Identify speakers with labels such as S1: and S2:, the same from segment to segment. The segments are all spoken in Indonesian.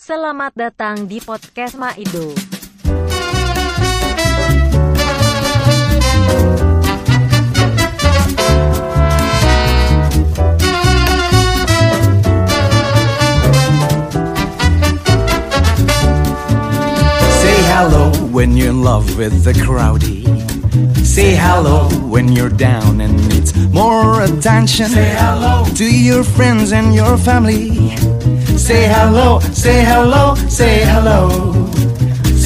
S1: Selamat datang di podcast Maido.
S2: Say hello when you're in love with the crowdie. Say hello when you're down and needs more attention. Say hello to your friends and your family. Say hello, say hello, say hello.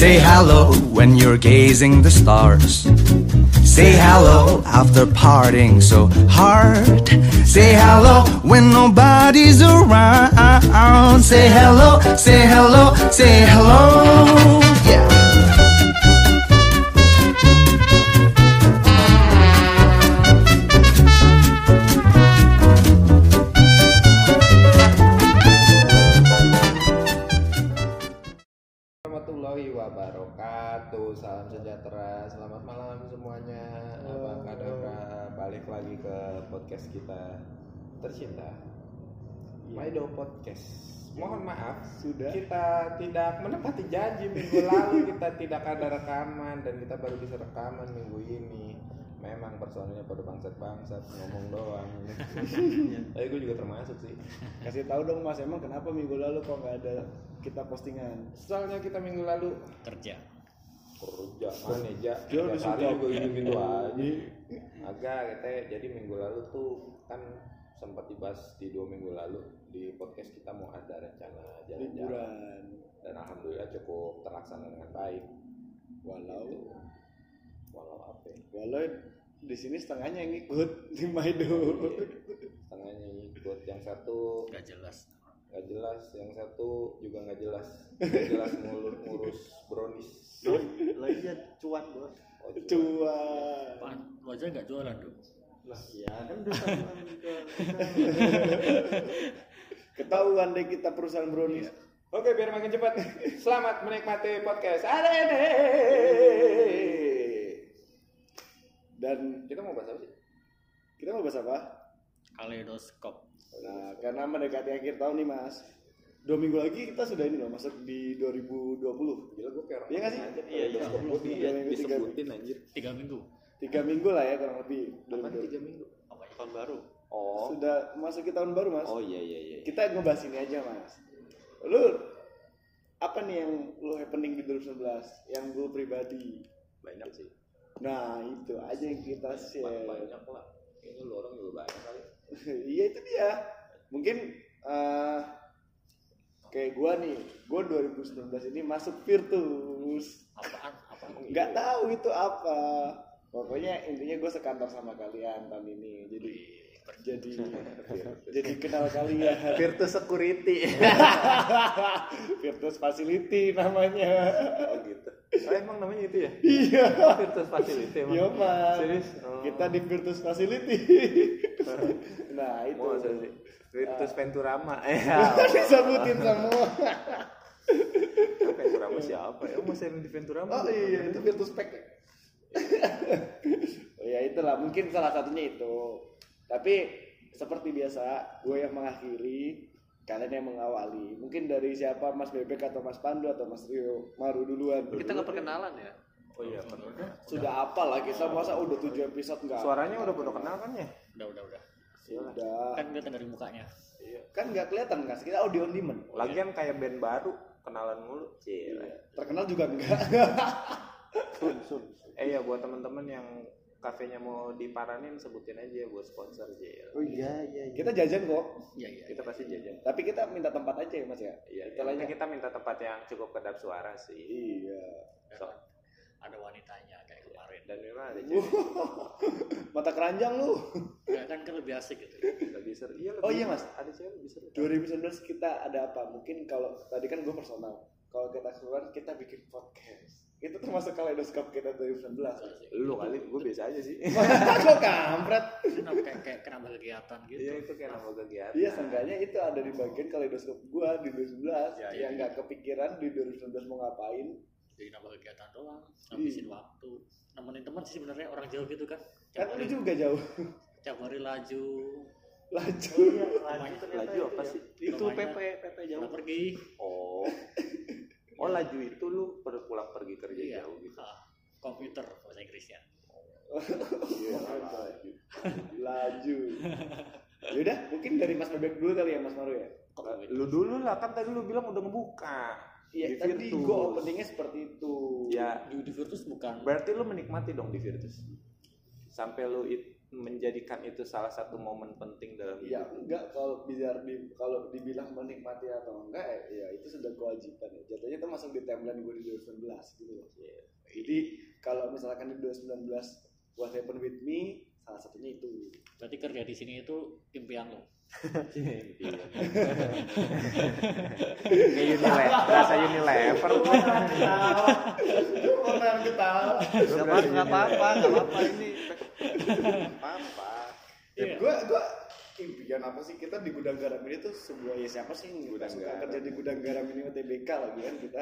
S2: Say hello when you're gazing the stars. Say hello after partying so hard. Say hello when nobody's around. Say hello, say hello, say hello. Yeah.
S3: warahmatullahi wabarakatuh. Salam sejahtera. Selamat malam semuanya. Apa kabar? Balik lagi ke podcast kita tercinta. Maido Podcast. Mohon maaf,
S4: Sudah.
S3: Kita tidak menepati janji minggu lalu kita tidak ada rekaman dan kita baru bisa rekaman minggu ini. Memang personilnya pada bangsat-bangsat ngomong doang. Tapi gue juga termasuk sih.
S4: Kasih tahu dong Mas, emang kenapa minggu lalu kok nggak ada kita postingan?
S3: Soalnya kita minggu lalu
S5: kerja
S3: kerja mana ja
S4: Dia
S3: Tiap
S4: udah
S3: hari
S4: suka.
S3: juga gitu gitu aja
S4: Iya,
S3: agak kita jadi minggu lalu tuh kan sempat dibahas di dua minggu lalu di podcast kita mau ada rencana jalan-jalan
S4: Liburan.
S3: dan alhamdulillah cukup terlaksana dengan baik
S4: Walau
S3: Gitu. walau apa ya,
S4: walau di sini setengahnya yang ikut di Maido.
S3: setengahnya ikut yang satu
S5: nggak jelas
S3: nggak jelas yang satu juga nggak jelas nggak jelas ngurus ngurus brownies
S6: lagi ya cuan bos
S3: oh, cuman.
S4: Cuan.
S5: pan lu aja nggak jualan dong
S6: lah ya kan udah sama juga.
S4: Ketahuan deh kita perusahaan brownies.
S5: Iya.
S3: Oke, biar makin cepat. Selamat menikmati podcast Arene.
S4: Dan
S3: Kita mau bahas apa sih?
S4: kita mau bahas apa?
S5: kaleidoskop
S4: Nah, karena mendekati akhir tahun nih Mas. Dua minggu lagi kita sudah ini loh, masuk di 2020.
S3: Gila gue kayak orang
S4: Iya nggak sih?
S3: aja.
S4: Iya, iya.
S3: Gue di,
S4: Iya, iya,
S3: disebutin anjir.
S5: tiga minggu
S4: Tiga minggu lah ya kurang lebih.
S3: Apaan
S4: 2020.
S3: tiga minggu?
S5: apa ya
S6: tahun baru
S3: Oh.
S4: Sudah masuk ke tahun baru Mas.
S3: Oh iya iya iya.
S4: kita ngebahas ini aja mas lu apa nih yang lu happening di 2019 yang gue pribadi
S3: Banyak sih.
S4: nah itu aja yang kita
S3: Ba-
S4: share
S3: Banyak lah. Kayaknya lu orang juga banyak kali.
S4: iya itu dia mungkin eh kayak gue nih gue 2019 ini masuk Virtus
S5: apaan apaan
S4: nggak tahu itu apa pokoknya intinya gue sekantor sama kalian tahun ini jadi jadi jadi kenal kalian Virtus Security Virtus Facility namanya gitu.
S6: oh, emang namanya itu ya
S4: iya
S6: virtus facility emang
S4: Iya mas
S6: serius Oh.
S4: kita di Virtus Facility nah itu
S6: Mau ada sih? virtus penturama eh
S4: disebutin semua
S6: penturama siapa ya mau sering di penturama
S4: oh iya itu Virtus Pack Oh, ya itulah mungkin salah satunya itu tapi seperti biasa gue yang mengakhiri kalian yang mengawali mungkin dari siapa Mas Bebek atau Mas Pandu atau Mas Rio Maru duluan
S6: kita nggak perkenalan ya
S5: oh iya udah
S4: sudah apa lah kita masa udah tujuh episode nggak
S6: suaranya udah pernah kenal kan ya
S5: udah udah, udah.
S4: sudah
S5: kan kelihatan dari mukanya
S4: kan nggak kelihatan kan kita audio on demand
S6: lagian kayak band baru kenalan mulu Cila.
S4: terkenal juga enggak
S6: eh ya buat temen-temen yang kafenya mau diparanin sebutin aja buat sponsor Cila.
S4: oh iya iya kita jajan kok
S5: iya iya
S6: kita pasti jajan
S4: tapi kita minta tempat aja ya mas ya
S6: Iya, yang
S4: Kita
S6: penting
S4: layak.
S6: kita minta tempat yang cukup kedap suara sih.
S4: iya
S6: So,
S5: ada wanitanya kayak kemarin
S6: dan memang ada cewek
S4: Uh. mata keranjang uh. lu
S5: ya kan kan lebih asik gitu
S6: lebih seru. Iya, lebih
S4: Oh, iya, Mas.
S6: Ada cewek lebih seru.
S4: 2019 kita ada apa mungkin kalau tadi kan gue personal kalau kita keluar kita bikin podcast itu termasuk kaleidoskop kita 2019
S6: Lu kali, gue biasa aja sih.
S4: kok kampret
S5: kenapa kayak kayak kenapa kegiatan gitu
S6: Iya itu kayak nama kegiatan.
S4: iya seenggaknya itu ada di bagian kaleidoskop gue di 2019
S5: Ya, iya,
S4: yang nggak kepikiran di 2019 mau ngapain
S5: jadi nambah kegiatan doang
S6: Iya.
S5: habisin waktu nemenin teman sih sebenarnya orang jauh gitu kan
S4: kan lu
S5: tiap hari
S4: juga jauh
S5: tiap hari laju
S4: laju
S6: Iya, Laju ya. apa sih?
S5: Itu PP,
S6: PP
S5: nggak pergi
S3: Oh.
S6: laju itu lu per- pulang pergi kerja
S5: Iya.
S6: jauh gitu.
S5: Ah, komputer bahasa ya. Inggrisnya.
S4: Iya, laju. Laju. Yaudah, mungkin dari Mas Bebek dulu kali ya Mas Maru ya.
S5: Kok
S6: Eh,
S5: komputer?
S6: Lu dulu lah kan tadi lu bilang udah ngebuka.
S4: Iya,
S6: Di
S4: tadi
S6: Virtus.
S4: gue openingnya seperti itu.
S6: Ya,
S5: Di, di Virtus bukan
S6: berarti lu menikmati dong di Virtus. Sampai lu it- menjadikan itu salah satu momen penting dalam
S4: Ya
S6: hidup.
S4: enggak kalau biar di, kalau dibilang menikmati atau enggak eh, ya itu sudah kewajiban ya. Jatuhnya itu masuk di timeline gue di 2019 gitu loh. Jadi kalau misalkan di 2019 what happened with me salah satunya itu.
S5: berarti kerja di sini itu impian lo.
S6: Kayak Unilever, rasa Unilever. Iya.
S4: Lu orang ketawa.
S6: Gak apa-apa, gak apa-apa, gak apa-apa ini. Gak apa-apa.
S4: Ya, Gue gue impian apa sih kita di gudang garam ini tuh sebuah ya siapa sih yang gudang suka kerja di gudang garam ini UTBK lagi kan kita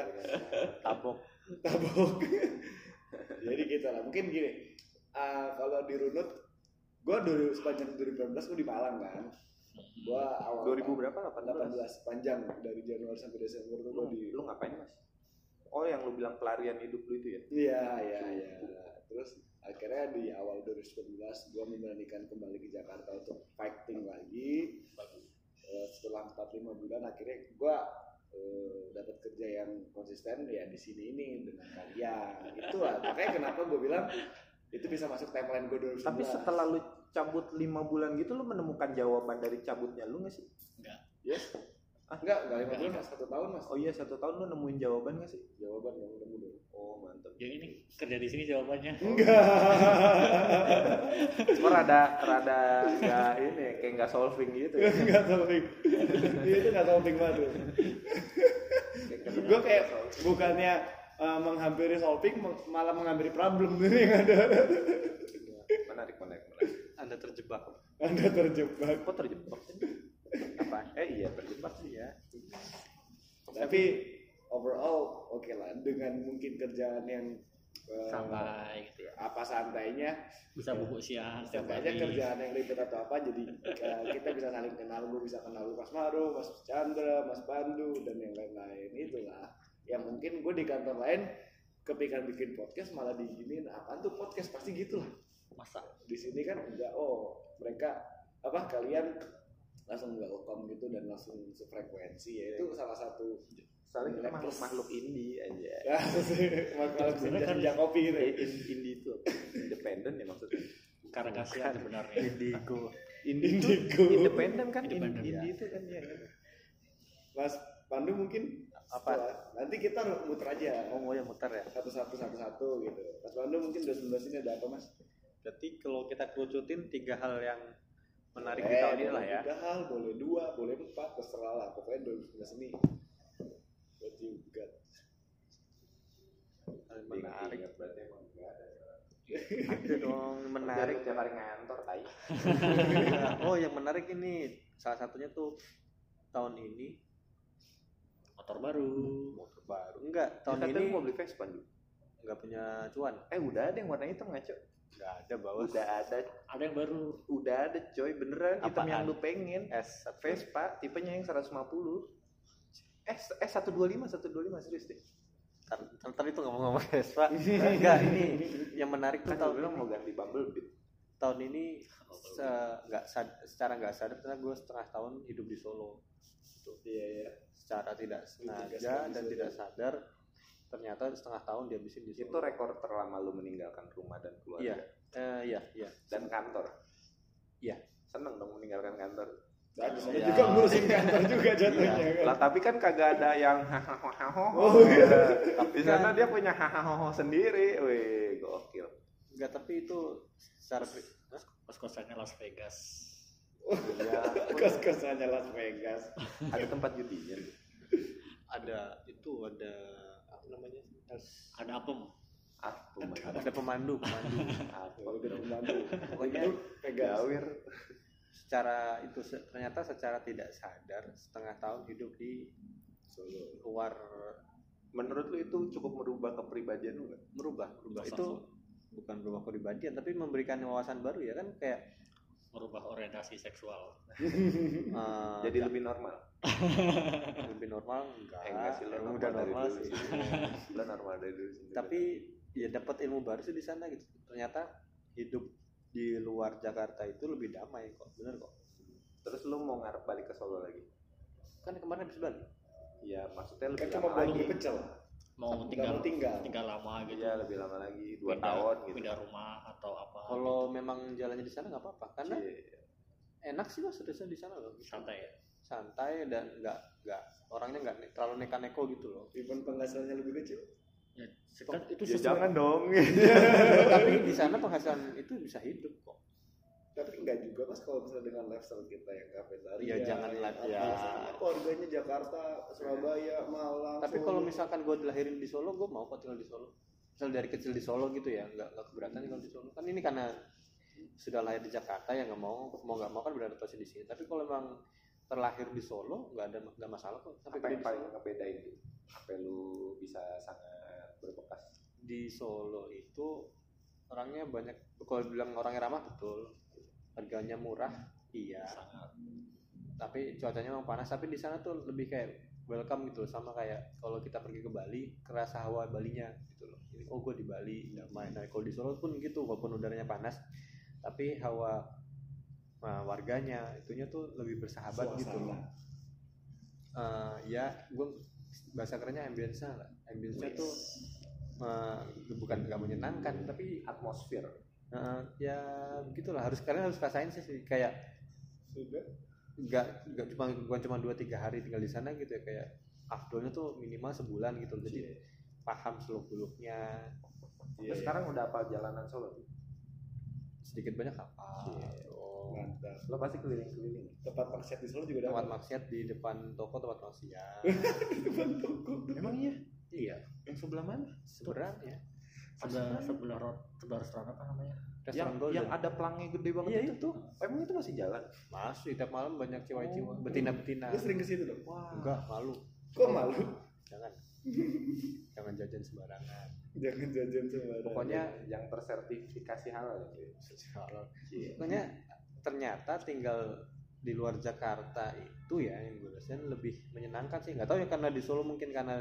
S6: Tabok.
S4: tabok jadi gitu lah mungkin gini ah, kalau dirunut gue dulu sepanjang 2019 gue di Malang kan gue awal
S6: 2000 berapa? 18.
S4: 18 panjang dari Januari sampai Desember tuh gue
S6: Lu,
S4: di
S6: lu ngapain mas? Oh yang lu bilang pelarian hidup lu itu ya?
S4: Iya, iya, iya. Terus akhirnya di awal 2019 gue memberanikan kembali ke Jakarta untuk fighting lagi. Eh, setelah 4-5 bulan akhirnya gue dapat kerja yang konsisten ya di sini ini dengan kalian. Itulah makanya kenapa gue bilang itu bisa masuk timeline gue 2019.
S6: Tapi setelah lu cabut lima bulan gitu lu menemukan jawaban dari cabutnya lu gak sih?
S4: yes. enggak, enggak lima bulan mas, satu tahun mas.
S6: Oh iya satu tahun lu nemuin jawaban gak sih?
S4: Jawaban yang udah mudah.
S6: Oh mantap.
S5: Yang ini kerja di sini jawabannya.
S6: Cuma rada rada nggak ini kayak nggak solving gitu. Ya.
S4: Enggak topik. Dia itu enggak topik banget. gue kayak bukannya uh, menghampiri solving meng- malah menghampiri problem ya ini yang ada
S6: Menarik menarik menarik. Anda terjebak.
S4: anda terjebak
S6: Kok terjebak? sih? Apa? Eh iya terjebak sih ya.
S4: tapi overall oke lah dengan mungkin kerjaan yang uh,
S5: Santai gitu ya.
S4: apa santainya
S5: Bisa bubuk siang. setiap
S4: santainya
S5: pagi.
S4: kerjaan yang ribet atau apa jadi uh, kita bisa saling kenal gue bisa kenal lu mas Maru mas Chandra mas Pandu dan yang lain-lain itulah yang mungkin gue di kantor lain kepikiran bikin podcast malah diginin apaan tuh podcast pasti gitu lah
S5: Masa
S4: di sini kan enggak oh mereka apa kalian langsung welcome gitu dan langsung sefrekuensi ya itu salah satu
S6: Soalnya kita makhluk makhluk indie aja.
S4: makalah senja senja
S7: kan
S4: kopi gitu ya.
S6: Eh, in- indie itu apa? independen ya maksudnya.
S5: karena kasihan sebenarnya.
S6: Iya. Indigo.
S4: Indigo.
S6: Independen kan
S5: Independen,
S6: indie
S5: ya.
S6: itu kan ya. kan?
S4: Mas Pandu mungkin
S6: Apa?
S4: setelah- nanti kita muter aja
S6: Oh, mau yang muter ya.
S4: satu satu satu satu gitu Mas Pandu mungkin udah sebelah sini ada apa Mas
S7: Berarti kalau kita kerucutin tiga hal yang menarik di
S4: Eh,
S7: tahun ini
S4: boleh
S7: lah ya.
S4: tiga hal boleh dua boleh empat terserah lah pokoknya dua sebelah sini What you got?
S7: Hal yang menarik.
S6: Itu dong menarik tiap hari ngantor tai.
S7: oh, yang menarik ini salah satunya tuh tahun ini
S5: Motor baru.
S6: Motor baru.
S7: enggak tahun
S6: Katanya
S7: ini
S6: mau beli Vespa dulu.
S7: enggak punya cuan.
S6: Eh udah ada yang warna hitam ngaco.
S7: Enggak ada bawa
S6: Udah ada,
S5: Ada yang baru.
S6: udah ada coy beneran hitam
S5: Apaan?
S6: yang lu pengen.
S7: S
S6: Vespa tipenya yang 150. Eh s- eh 125 125 serius deh.
S7: Ntar, ntar itu nggak mau ngomong Vespa. Enggak ini yang menarik tuh
S6: Kan tahun
S7: tahun
S6: bilang
S7: ini.
S6: mau ganti Bumblebee.
S7: Tahun ini se nggak sad- secara nggak sadar karena gue setengah tahun hidup di Solo. Gitu.
S4: Iya ya.
S7: Secara tidak sengaja dan tidak sadar ternyata setengah tahun dihabisin di Solo.
S6: Itu rekor terlama lu meninggalkan rumah dan
S7: Iya,
S6: keluarga
S7: eh, iya, iya.
S6: dan kantor.
S7: Iya.
S6: Seneng dong meninggalkan kantor. Ya.
S4: Dan di sana
S7: Iya.
S4: juga ngurusin kan, kantor juga jatuhnya kan.
S6: Lah tapi kan kagak ada yang hahaha.
S4: Oh, iya.
S6: Di sana dia punya hahaha sendiri. Wih, gokil.
S7: Enggak, tapi itu secara pri- Hah?
S5: Pas kosannya Las Vegas.
S4: Kos-kosannya Las Vegas.
S6: Ada tempat judinya.
S7: ada itu ada apa namanya? Harus-
S5: Ada apem.
S6: Ah, lumayan.
S7: Ada pemandu, pemandu.
S4: Ya udah pemandu.
S7: Pokoknya
S4: Itu Vegas.
S6: Gawir.
S7: secara itu se- ternyata secara tidak sadar setengah tahun hidup di luar
S6: Menurut lu itu cukup merubah kepribadian lu nggak?
S7: merubah, merubah
S5: Masa
S7: itu bukan merubah kepribadian tapi memberikan wawasan baru ya kan kayak
S5: merubah orientasi seksual
S7: Eh,
S6: Jadi lebih normal.
S7: lebih normal enggak,
S6: Eh, enggak sih, lo
S7: Emang
S6: normal
S7: Ah, udah
S6: dari
S7: normal
S6: dulu
S7: sih.
S6: sih. Lo normal dari dulu sendiri.
S7: tapi ya dapat ilmu baru sih di sana gitu ternyata hidup di luar Jakarta itu lebih damai kok bener kok
S6: terus lu mau ngarep balik ke Solo lagi?
S7: kan kemarin habis balik
S6: Ya maksudnya
S4: kan
S6: lebih
S4: cuma
S6: lama
S4: baru
S6: lagi.
S4: pecel
S5: mau
S4: Nggak
S5: tinggal
S4: mau tinggal.
S5: tinggal lama gitu
S6: Iya lebih lama lagi dua
S5: pindah,
S6: tahun gitu.
S5: pindah rumah atau apa
S7: kalau memang jalannya di sana nggak apa-apa karena
S6: Iya.
S7: enak sih mas seriusnya di sana loh
S5: gitu. santai ya
S7: santai dan nggak nggak orangnya nggak ne- terlalu neka-neko gitu loh
S4: even penghasilannya lebih kecil
S5: Ya, kan itu
S6: Ya,
S5: sesuai-
S6: jangan dong.
S7: tapi di sana penghasilan itu bisa hidup kok
S4: tapi enggak juga mas kalau misalnya dengan lifestyle kita yang kafetaria
S7: Iya, jangan lah,
S4: apa,
S7: ya.
S4: apa harganya Jakarta Surabaya Malang
S7: tapi
S4: Solo.
S6: Oh.
S7: kalau misalkan gue dilahirin di Solo gue mau kok tinggal di Solo misal dari kecil di Solo gitu ya nggak nggak keberatan tinggal di Solo kan ini karena sudah lahir di Jakarta ya nggak mau mau nggak mau kan beradaptasi di sini tapi kalau emang terlahir di Solo nggak ada nggak masalah kok sampai
S6: Apa
S7: gede
S6: yang
S7: di
S6: paling
S7: Solo.
S6: ngebedain tuh? Apa yang lu bisa sangat berbekas?
S7: di Solo itu orangnya banyak kalau bilang orangnya ramah betul harganya murah iya tapi cuacanya memang panas tapi di sana tuh lebih kayak welcome gitu loh. sama kayak kalau kita pergi ke Bali kerasa hawa Balinya gitu loh jadi oh gue di Bali damai nah kalau di Solo pun gitu walaupun udaranya panas tapi hawa nah, warganya itunya tuh lebih bersahabat gitu loh Eh, ya gue bahasa kerennya ambience lah ambience tuh eh, bukan nggak menyenangkan tapi
S6: Atmosfer.
S7: eh, ya begitulah harus kalian harus rasain sih sih. kayak
S4: sudah
S7: nggak nggak cuma bukan cuma dua tiga hari tinggal di sana gitu ya kayak afdolnya tuh minimal sebulan gitu loh. jadi paham seluk beluknya Iya,
S6: Lu sekarang udah apa jalanan Solo? tuh?
S7: sedikit banyak apa Oh.
S6: Nah.
S4: mantap
S6: Lo pasti keliling-keliling.
S4: tempat maksiat di Solo juga
S7: tempat
S4: dapat
S7: maksiat di depan toko tempat maksiat
S4: tempat toko
S6: Emang iya?
S7: iya
S6: Yang sebelah mana?
S7: seberang ya
S5: sebelah sebelah rot sebelah restoran apa namanya
S7: restoran
S6: yang,
S7: Golden.
S6: yang ada pelangnya gede banget
S7: Iya,
S6: itu tuh. Emang itu masih jalan?
S7: masih tiap malam
S6: Oh.
S7: banyak cewek-cewek betina-betina
S4: lu sering ke situ dong
S7: enggak malu
S4: kok malu
S7: jangan jangan jajan sembarangan
S4: jangan jajan sembarangan
S7: pokoknya
S6: ya, yang tersertifikasi halal gitu.
S7: pokoknya ternyata tinggal di luar Jakarta itu ya yang gue rasain lebih menyenangkan sih nggak tahu ya karena di Solo mungkin karena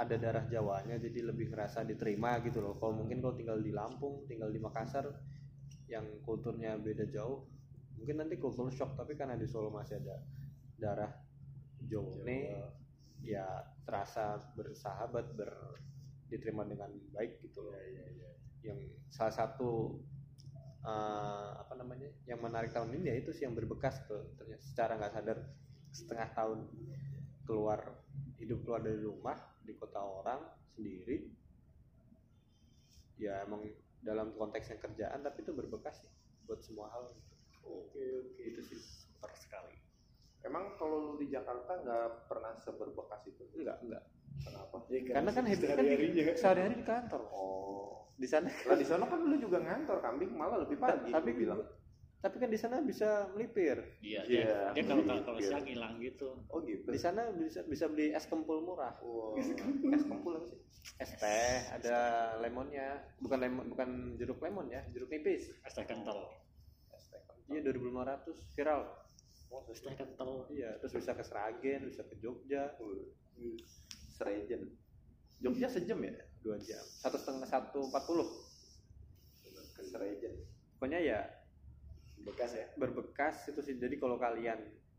S7: ada darah Jawanya jadi lebih ngerasa diterima gitu loh kalau mungkin kalau tinggal di Lampung tinggal di Makassar yang kulturnya beda jauh mungkin nanti kultur shock tapi karena di Solo masih ada darah Jone ya terasa bersahabat ber diterima dengan baik gitu loh yang salah satu eh, apa namanya yang menarik tahun ini ya itu sih yang berbekas tuh ternyata secara nggak sadar setengah tahun keluar hidup keluar dari rumah di kota orang sendiri ya emang dalam konteksnya kerjaan tapi itu berbekas sih buat semua hal gitu.
S4: oke oke
S7: itu sih
S5: super sekali
S6: Emang kalau lu di Jakarta nggak pernah seberbekas itu?
S7: enggak enggak
S6: Kenapa?
S4: Ya,
S7: karena kan habis kan
S4: sehari-harinya.
S7: di- sehari-hari di kantor
S6: Oh.
S7: di sana
S6: Lah di sana kan lu juga ngantor kambing malah lebih pagi.
S7: tapi
S6: lu bilang.
S7: tapi kan di sana bisa melipir
S6: Iya,
S5: dia dia, dia kalau
S6: iya.
S5: kalau siang hilang gitu
S6: Oh gitu.
S7: di sana bisa bisa beli es kempul murah
S6: Wow. Es kempul apa sih?
S7: es teh ada lemonnya bukan lemon bukan jeruk lemon ya jeruk nipis
S5: es teh kental
S6: Es teh kentang.
S7: iya 2500 viral
S5: es teh kental
S7: iya terus bisa ke Seragen bisa ke Jogja
S6: Uh, Serejen.
S7: Jogja sejam ya dua jam satu setengah satu empat puluh
S6: Ke Serejen.
S7: pokoknya ya
S4: bekas ya
S7: berbekas itu sih jadi kalau kalian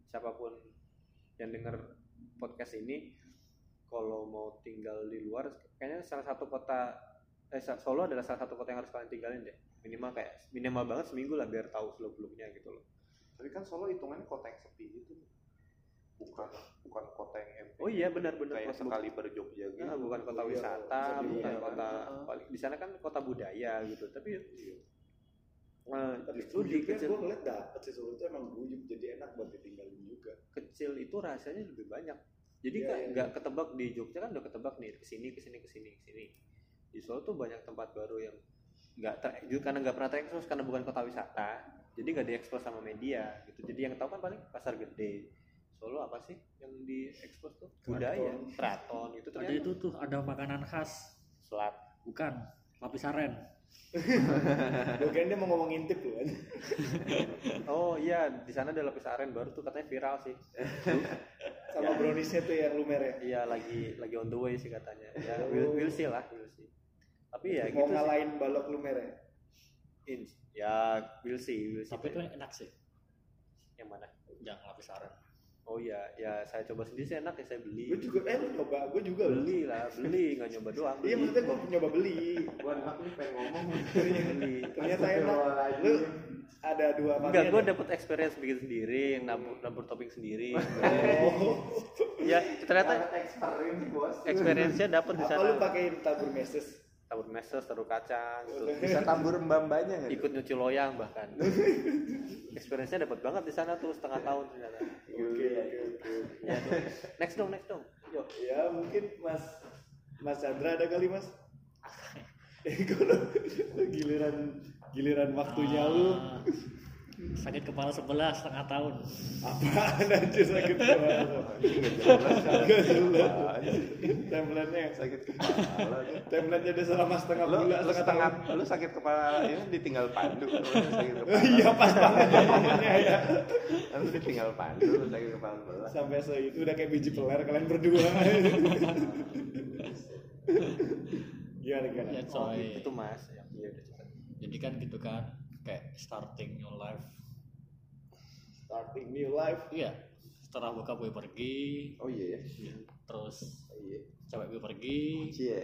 S7: siapapun yang denger podcast ini kalau mau tinggal di luar kayaknya salah satu kota eh, Sa- Solo adalah salah satu kota yang harus kalian tinggalin deh minimal kayak minimal banget seminggu lah biar tahu seluk-beluknya gitu loh
S6: Tapi kan Solo hitungannya kota yang sepi gitu. Bukan bukan kota yang epic.
S7: oh iya benar-benar
S6: Kayak
S7: kota bu-
S6: sekali berjogja gitu. ya
S7: Nah, bukan kota
S4: Iya,
S7: wisata
S4: kota
S6: kan.
S7: bukan
S4: budaya.
S7: kota paling- di sana kan kota budaya gitu tapi
S6: Iya.
S7: eh,
S4: tapi
S7: justru di
S4: guyupnya
S7: kecil
S4: gue ngeliat dapet sih Solo itu emang guyup jadi enak buat ditinggalin juga
S7: kecil itu rasanya lebih banyak jadi
S4: Iya,
S7: nggak
S4: iya.
S7: nggak ketebak di Jogja kan udah ketebak nih kesini kesini kesini kesini di Solo tuh banyak tempat baru yang nggak terekspos karena nggak pernah terekspos karena bukan kota wisata jadi nggak diekspos sama media gitu jadi yang tahu kan paling pasar gede Solo apa sih yang diekspos tuh budaya keraton gitu. itu
S5: ada
S7: ternyata
S5: itu tuh ada makanan khas
S7: kan? selat
S5: bukan lapis aren
S4: Gue kira dia mau ngomong intip lu kan.
S7: Oh iya, di sana ada lapis aren baru tuh katanya viral sih.
S4: Sama
S7: Ya.
S4: browniesnya tuh yang lumer ya.
S7: Iya lagi lagi on the way sih katanya. Ya we'll, we'll see lah, we'll see. Tapi ya
S4: mau
S7: gitu sih.
S4: ngalahin balok lumer ya.
S7: In- Ya we'll see, we'll see.
S5: Tapi itu enak sih.
S7: yang mana?
S5: Yang lapis aren.
S7: Oh iya, ya saya coba sendiri sih enak ya saya
S4: Gue
S7: beli.
S4: juga, eh lu nyoba, gue juga loh.
S7: Beli lah, beli nggak nyoba doang.
S4: Iya
S7: beli.
S4: maksudnya gue nyoba beli.
S6: Gua enak nih pengen ngomong.
S7: beli.
S4: Ternyata enak. Lu ada dua
S7: Enggak,
S4: varian
S7: gue
S4: ya?
S7: dapet experience bikin sendiri, nabur, nabur topping sendiri.
S4: Oh.
S7: ya ternyata
S6: Experience bos.
S7: experience-nya dapet di
S4: Apa lu
S7: sana.
S4: pakai tabur meses?
S7: Tabur meses, taruh kacang gitu.
S6: Bisa tambur mbambanya nggak?
S7: Ikut nyuci loyang bahkan. experience-nya dapet banget di sana tuh setengah tahun ternyata.
S4: Oke, oke, oke.
S7: Ya. Next dong, next dong. Yuk.
S4: Ya mungkin Mas Mas Chandra ada kali Mas. Eh kalau giliran giliran waktunya lu
S5: Ah, sakit kepala sebelah setengah tahun.
S4: apaan aja sakit kepala. Gak jelas. Timelinenya
S6: Sakit kepala.
S4: timelinenya udah selama setengah
S6: Lu,
S4: bulan
S6: lu setengah, lu sakit kepala ini ditinggal pandu. Lu sakit
S4: tahun.
S6: kepala.
S4: Iya pas banget ya momennya ya.
S6: Lu ditinggal pandu, lu sakit kepala belas.
S4: Sampai se itu udah kayak biji peler kalian berdua. Gimana gimana?
S5: Ya
S7: Oh,
S5: coy.
S7: itu mas. Ya, iya, udah cepet.
S5: Jadi kan gitu kan kayak starting new life.
S4: Starting new life.
S5: Iya. Setelah bokap gue pergi,
S6: Oh iya ya.
S5: terus
S6: Oh, Iya.
S5: cewek gue pergi.
S6: Iya.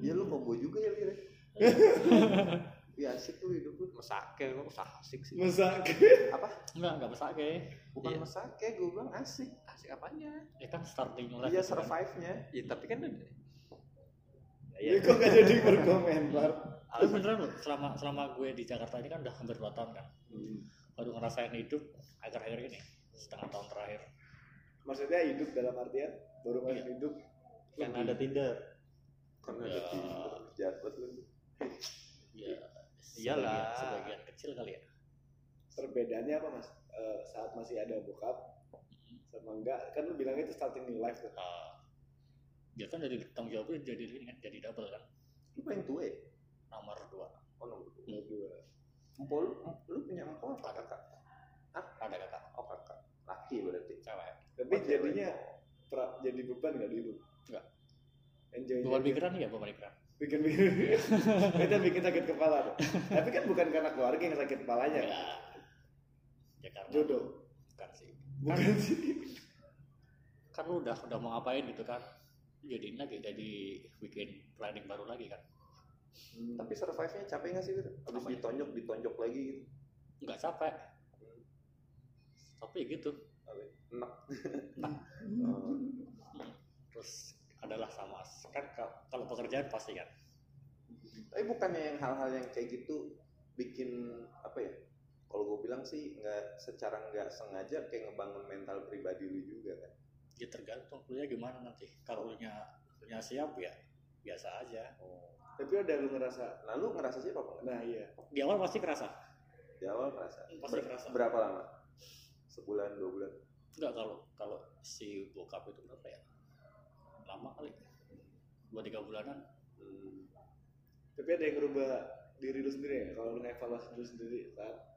S6: Ya lu kombo juga ya Lira. Ya asik tuh hidup lu.
S7: Mesake, kok usah asik sih.
S4: Masa
S6: Apa?
S5: Enggak, enggak besar kayak.
S6: Bukan
S7: Iya.
S6: mesake, gue bilang asik. Asik apanya?
S5: Ya kan starting new life.
S6: Iya
S5: gitu kan.
S6: survive-nya.
S7: Ya, tapi kan ada-
S4: Ya, kok gak jadi berkomentar?
S5: Tapi beneran loh, selama selama gue di Jakarta ini kan udah hampir 2 tahun kan.
S4: Hmm.
S5: Baru ngerasain hidup akhir-akhir ini setengah tahun terakhir.
S4: Maksudnya hidup dalam artian baru masuk
S6: Iya.
S4: hidup.
S5: Karena
S7: ada Tinder.
S6: Karena ada
S5: Ya.
S4: eh,
S6: tidur, jatuh lu.
S5: Ya,
S7: Iyalah.
S5: sebagian- Sebagian kecil kali ya.
S4: Perbedaannya apa mas? Eh, saat masih ada bokap sama enggak kan lu bilang itu starting new life tuh.
S6: Ah.
S5: Eh, dia kan dari tanggung jawabnya jadi ini kan jadi double kan
S6: Lu pengen tua ya?
S5: nomor dua
S6: Oh, no.
S4: Berdua.
S6: Empo Hmm. lu, lu punya empo apa kakak?
S5: ada kakak
S6: Oh kakak, laki berarti.
S5: cewek
S4: Tapi
S6: Oh, cewek.
S4: jadinya pra- jadi beban nggak di hidup?
S5: Nggak.
S4: Enjoy.
S5: beban pikiran ya beban pikiran
S4: Bikin bikin. itu yang bikin sakit kepala. Tuh. Tapi kan bukan karena keluarga yang sakit
S6: Iya.
S4: kepalanya.
S5: ya ya karena
S4: Iya. Jodoh.
S5: bukan sih
S4: Bukan sih.
S5: kan lu udah udah mau ngapain gitu kan jadi lagi jadi weekend planning baru lagi kan
S6: Tapi survive-nya capek nggak sih, Wir? Abis
S5: Apa ya?
S6: ditonjok, ditonjok lagi gitu.
S5: nggak capek tapi ya gitu Nah.
S6: Apa ya? Enak.
S5: terus adalah sama kan ka- kalau pekerjaan pasti kan
S6: Tapi bukannya yang hal-hal yang kayak gitu bikin apa ya? Kalau gue bilang sih nggak secara nggak sengaja kayak ngebangun mental pribadi lu juga kan.
S5: ya tergantung kuliah gimana nanti kalau lu nya lu nya siap ya biasa aja
S4: Oh. Tapi udah lu ngerasa.
S6: Nah lu ngerasa siapa apa nggak?
S4: Nah iya.
S5: di awal pasti kerasa
S6: Di awal ngerasa.
S5: Pasti kerasa.
S6: Berapa lama? Sebulan, dua bulan.
S5: Enggak kalau kalau si bokap itu berapa ya? Lama kali. Dua tiga bulanan.
S6: Hmm.
S4: Tapi ada yang ngerubah diri lu sendiri ya. Kalau lu evaluasi diri sendiri saat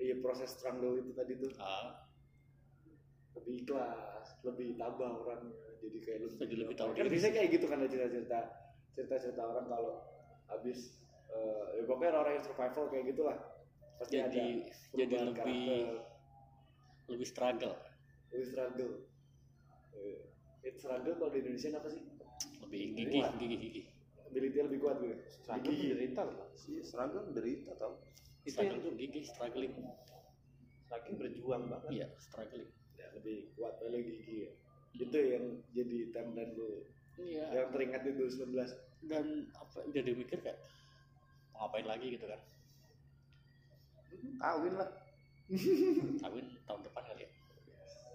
S4: iya proses struggle itu tadi tuh.
S5: Ah,
S4: lebih ikhlas, lebih tabah orangnya. Jadi kayak lu
S5: Jadi lebih tahu
S4: Kan
S5: diri.
S4: bisa kayak gitu kan ada cerita-cerita cerita-cerita orang kalau habis eh, ya pokoknya orang yang survival kayak gitulah. Pasti
S5: Jadi-
S4: Iya, ada
S5: jadi
S4: perubahan
S5: lebih-
S4: karakter,
S5: lebih struggle,
S4: lebih struggle. Eh, it's struggle kalau di Indonesia apa sih? Iya.
S5: lebih gigih, gigih, gigih.
S4: Ability lebih kuat gitu. gue.
S6: Seragam menderita loh. Iya, seragam menderita tau.
S5: Struggle itu gigih, struggling.
S6: Saking berjuang banget.
S5: Iya, struggling.
S4: Ya, lebih kuat lebih gigi ya. Itu yang jadi timeline lu
S5: Iya.
S4: yang teringat di 2019.
S5: Dan apa udah dimikir kayak mau ngapain lagi gitu kan?
S6: Kawin lah.
S5: Kawin tahun depan kali ya.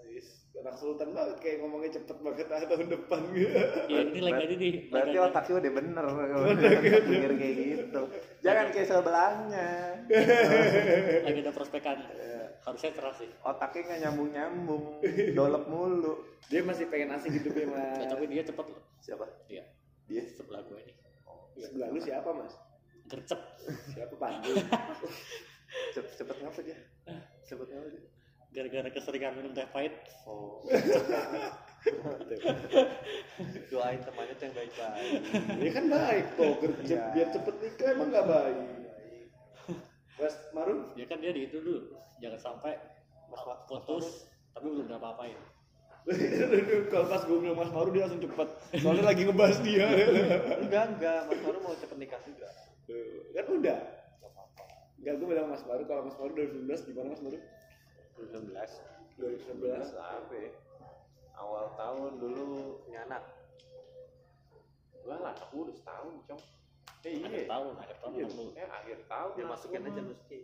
S4: Is, Anak sultan banget kayak ngomongnya cepet banget ah, tahun depan gitu.
S5: Ya ini lagi ada nih.
S4: Iya,
S6: Berarti
S5: lagi ada.
S6: otak lu udah bener kalau mikir kayak gitu. Jangan kayak sebelahnya.
S5: lagi ada Iya. prospekan. Harusnya cerah sih.
S6: Otaknya nggak nyambung nyambung, dolep mulu.
S4: Dia masih pengen asik hidupnya
S5: Ya,
S4: mas.
S5: tapi dia cepet loh.
S6: Siapa?
S5: Dia
S6: Dia.
S5: sebelah gue nih.
S6: Iya.
S4: Sebelah lu siapa mas?
S5: gercep
S4: Siapa Pandu?
S6: Cepet, cepet ngapa dia? Cepet ngapa dia?
S5: gara-gara keseringan minum teh pahit
S7: Oh. Doain temannya tuh yang baik-baik.
S4: Ini kan baik toh gercep
S7: Iya.
S4: biar cepet nikah emang nggak baik. Mas Marun
S5: ya kan dia di itu dulu jangan sampai putus tapi belum udah apa-apain
S4: Kalau pas gue bilang Mas Maru dia langsung cepet Soalnya lagi ngebahas dia
S7: Enggak, enggak. Mas Maru mau cepet nikah juga.
S4: Tuh, Kan udah Enggak gue bilang Mas Maru Kalau Mas Maru 2019 gimana Mas Maru?
S7: 19.
S4: 2019
S6: Apa ya? Awal tahun dulu
S7: Punya anak.
S6: gua lah anak gua udah setahun, Cong. Eh
S5: akhir
S6: iya.
S5: tahun akhir tahun
S6: Iya,
S5: belum
S6: eh akhir tahun.
S7: Ya
S6: lah,
S7: masukin
S6: gua
S7: aja
S6: mah.
S7: mesti.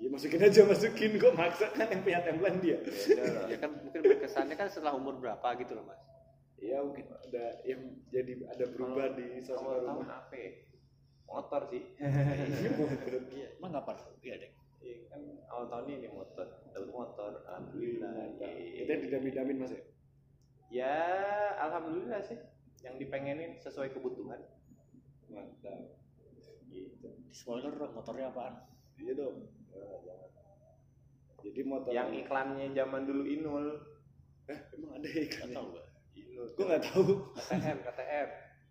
S4: Ya masukin aja masukin Kok maksa kan yang punya timeline dia
S6: Beda lah.
S7: Ya kan mungkin berkesannya kan setelah umur berapa gitu loh, Mas.
S4: Iya mungkin ada yang jadi ada berubah di
S6: Awal
S4: sosial
S6: tahun
S4: rumah
S6: apa ya? Motor sih.
S5: emang kapan iya deh
S6: Iya kan awal tahun ini motor, dapat motor. Alhamdulillah. iya.
S4: Itu yang didamin-damin Mas ya?
S6: Ya, alhamdulillah sih. Yang dipengenin sesuai kebutuhan.
S4: Mantap
S5: di spoiler dong motornya apaan
S4: Iya dong Jadi motor
S6: Yang iklannya zaman dulu Inul.
S4: Emang ada ya
S5: gak tau gue
S6: Inul.
S4: Gue gak tahu
S6: KTM, KTM.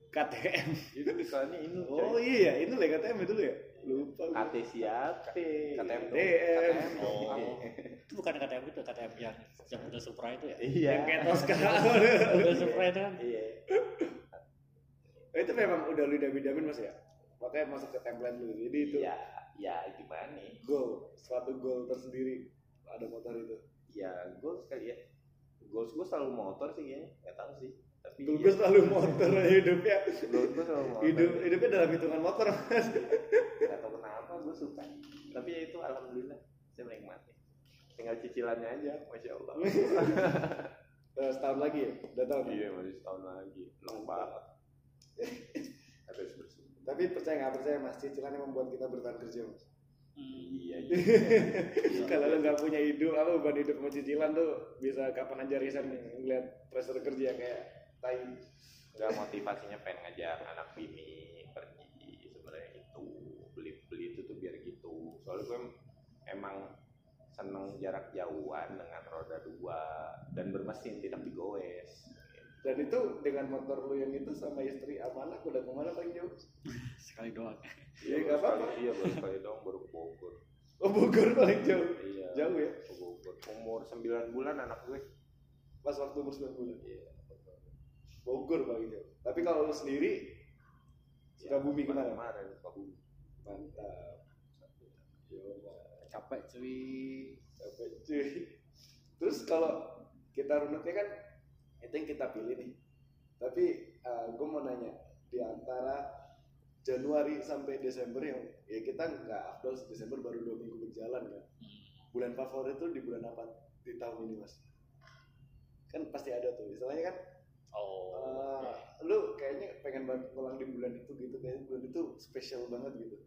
S4: KTM
S6: Itu iklannya Inul.
S4: Oh
S6: coy.
S4: iya ya, ini lah KTM ya dulu ya? Lupa gue.
S6: KT siap. KTM dong.
S4: KTM.
S5: oh
S6: Iya.
S5: itu bukan KTM itu KTM yang yang udah Supra itu ya
S6: Iya.
S4: Yang kayak tos
S5: udah Supra itu kan
S6: Iya.
S4: itu memang udah lu damin-damin mas ya? Makanya masuk ke timeline lu. Jadi itu
S6: Iya. Ya gimana nih?
S4: goal, suatu goal tersendiri ada motor itu.
S6: Ya goals kali ya. Goals gue selalu motor sih kayaknya. Gak tau sih. Tapi iya,
S4: Goal gue selalu motor hidupnya.
S6: Goals gue selalu motor.
S4: Hidup hidupnya dalam hitungan motor mas.
S6: Gak tau kenapa gue suka. Tapi ya itu alhamdulillah. Saya menikmati. Tinggal cicilannya aja. Masya Allah.
S4: Eh, setahun lagi ya, udah tahun.
S6: Iya masih setahun lagi. Long banget. Harus bersyukur.
S4: Tapi percaya nggak percaya mas, cicilan yang membuat kita bertahan kerja mas.
S6: Iya.
S4: Kalau lu nggak punya hidup, apa beban hidup sama cicilan tuh bisa kapan aja resign ngeliat pressure kerja kayak tai.
S6: Enggak motivasinya pengen ngajak anak bini pergi sebenarnya itu beli beli itu tuh biar gitu. Soalnya gue em- emang seneng jarak jauhan dengan roda dua dan bermesin tidak digoes.
S4: Dan itu dengan motor lu yang itu sama istri sama anak udah kemana paling jauh?
S5: sekali doang
S6: baru
S4: Iya, nggak
S6: sekali-
S4: apa-apa.
S6: Iya baru sekali dong baru ke Bogor.
S4: Oh Bogor paling jauh.
S6: Iya.
S4: Jauh ya?
S6: Ke Bogor. Umur 9 bulan anak gue.
S4: Pas waktu umur 9 bulan.
S6: Iya.
S4: Bogor paling jauh. Tapi kalau lu sendiri Sukabumi kemana?
S6: Iya, Kemarin Sukabumi.
S4: mantap. Yo,
S5: capek cuy
S4: capek cuy. Terus kalau kita runutnya kan itu yang kita pilih nih. Tapi gue mau nanya di antara Januari sampai Desember yang ya kita nggak afdol Desember baru dua minggu berjalan kan. Bulan favorit tuh di bulan apa di tahun ini mas? Kan pasti ada tuh. Istilahnya kan
S5: oh
S4: Eh, lu kayaknya pengen banget pulang di bulan itu gitu kayaknya bulan itu spesial banget gitu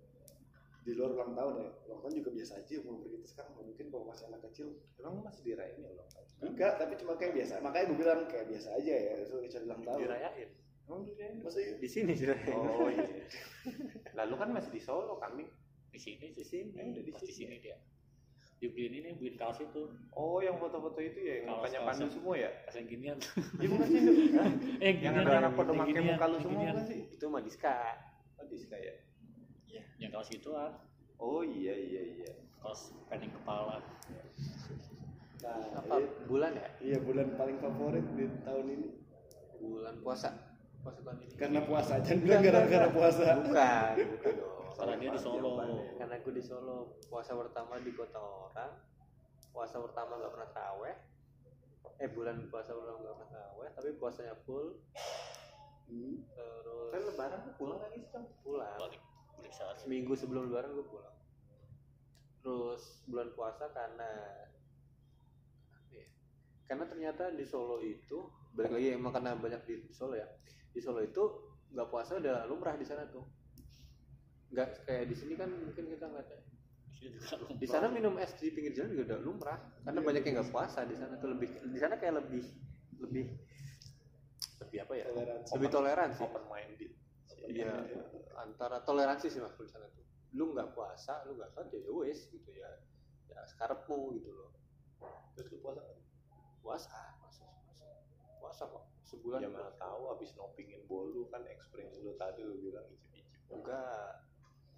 S4: di luar ulang tahun ya ulang tahun juga biasa aja umur kita sekarang mungkin kalau masih anak kecil
S6: Emang masih dirayain ya lo?
S4: enggak tapi cuma kayak biasa makanya gue bilang kayak biasa aja ya itu acara ulang tahun
S7: Dirayain. iya?
S6: Emang Oh, dirayain?
S4: maksudnya
S7: Di sini dirayain.
S6: Oh iya. Lalu kan masih di Solo kami.
S5: di sini
S7: Di
S5: sih
S7: sini.
S5: Eh, di pasti sini dia dibeliin ini beliin kaos itu
S6: Oh, yang foto-foto itu ya yang
S5: Kaos-
S6: mukanya
S5: kaos
S6: pandu
S5: yang-
S6: semua ya?
S5: kaos yang ginian
S6: Iya bukan sih itu. Hah?
S5: eh
S6: yang
S5: ginian,
S6: ada anak pada
S5: yang
S6: pakai
S5: ginian,
S6: muka lu
S5: yang
S6: semua
S5: ginian.
S6: bukan sih?
S7: Itu Madiska.
S6: Oh, Diska ya.
S5: yang kaos gituan
S6: Oh iya iya iya.
S5: kaos pening kepala
S4: nah
S7: Apa
S4: iya,
S7: bulan ya?
S4: iya bulan paling favorit di tahun ini
S7: Bulan puasa. Puasa bulan ini.
S4: karena puasa jangan bilang gara-gara puasa
S7: Bukan, bukan dong.
S5: karena dia di Solo
S7: Karena gue di Solo, puasa pertama di kota orang, puasa pertama nggak pernah traweh, eh bulan puasa pertama nggak pernah traweh, tapi puasanya full,
S4: Hmm.
S7: terus
S6: Kan lebaran lu pulang lagi sih, Cong.
S7: pulang.
S5: balik balik saat
S7: Seminggu sebelum lebaran gue pulang. Terus bulan puasa karena apa ya? karena ternyata di Solo itu balik lagi emang karena banyak di Solo ya di Solo itu nggak puasa udah lumrah di sana tuh nggak kayak di sini kan mungkin kita nggak
S5: Dia juga lupa.
S7: di sana minum es di pinggir jalan juga udah lumrah karena banyak yang nggak puasa di sana tuh lebih di sana kayak lebih lebih lebih apa ya
S4: Toleransi.
S7: lebih toleran sih
S6: Open minded.
S7: ya antara toleransi sih mas tulisan itu lu nggak puasa lu nggak sholat ya ya wes gitu ya ya sekarepmu gitu loh terus lu puasa nggak? puasa puasa puasa puasa kok sebulan
S6: ya
S7: puasa.
S6: mana tahu abis nopingin bolu kan experience lu tadi lu bilang gitu. icip-icip
S7: enggak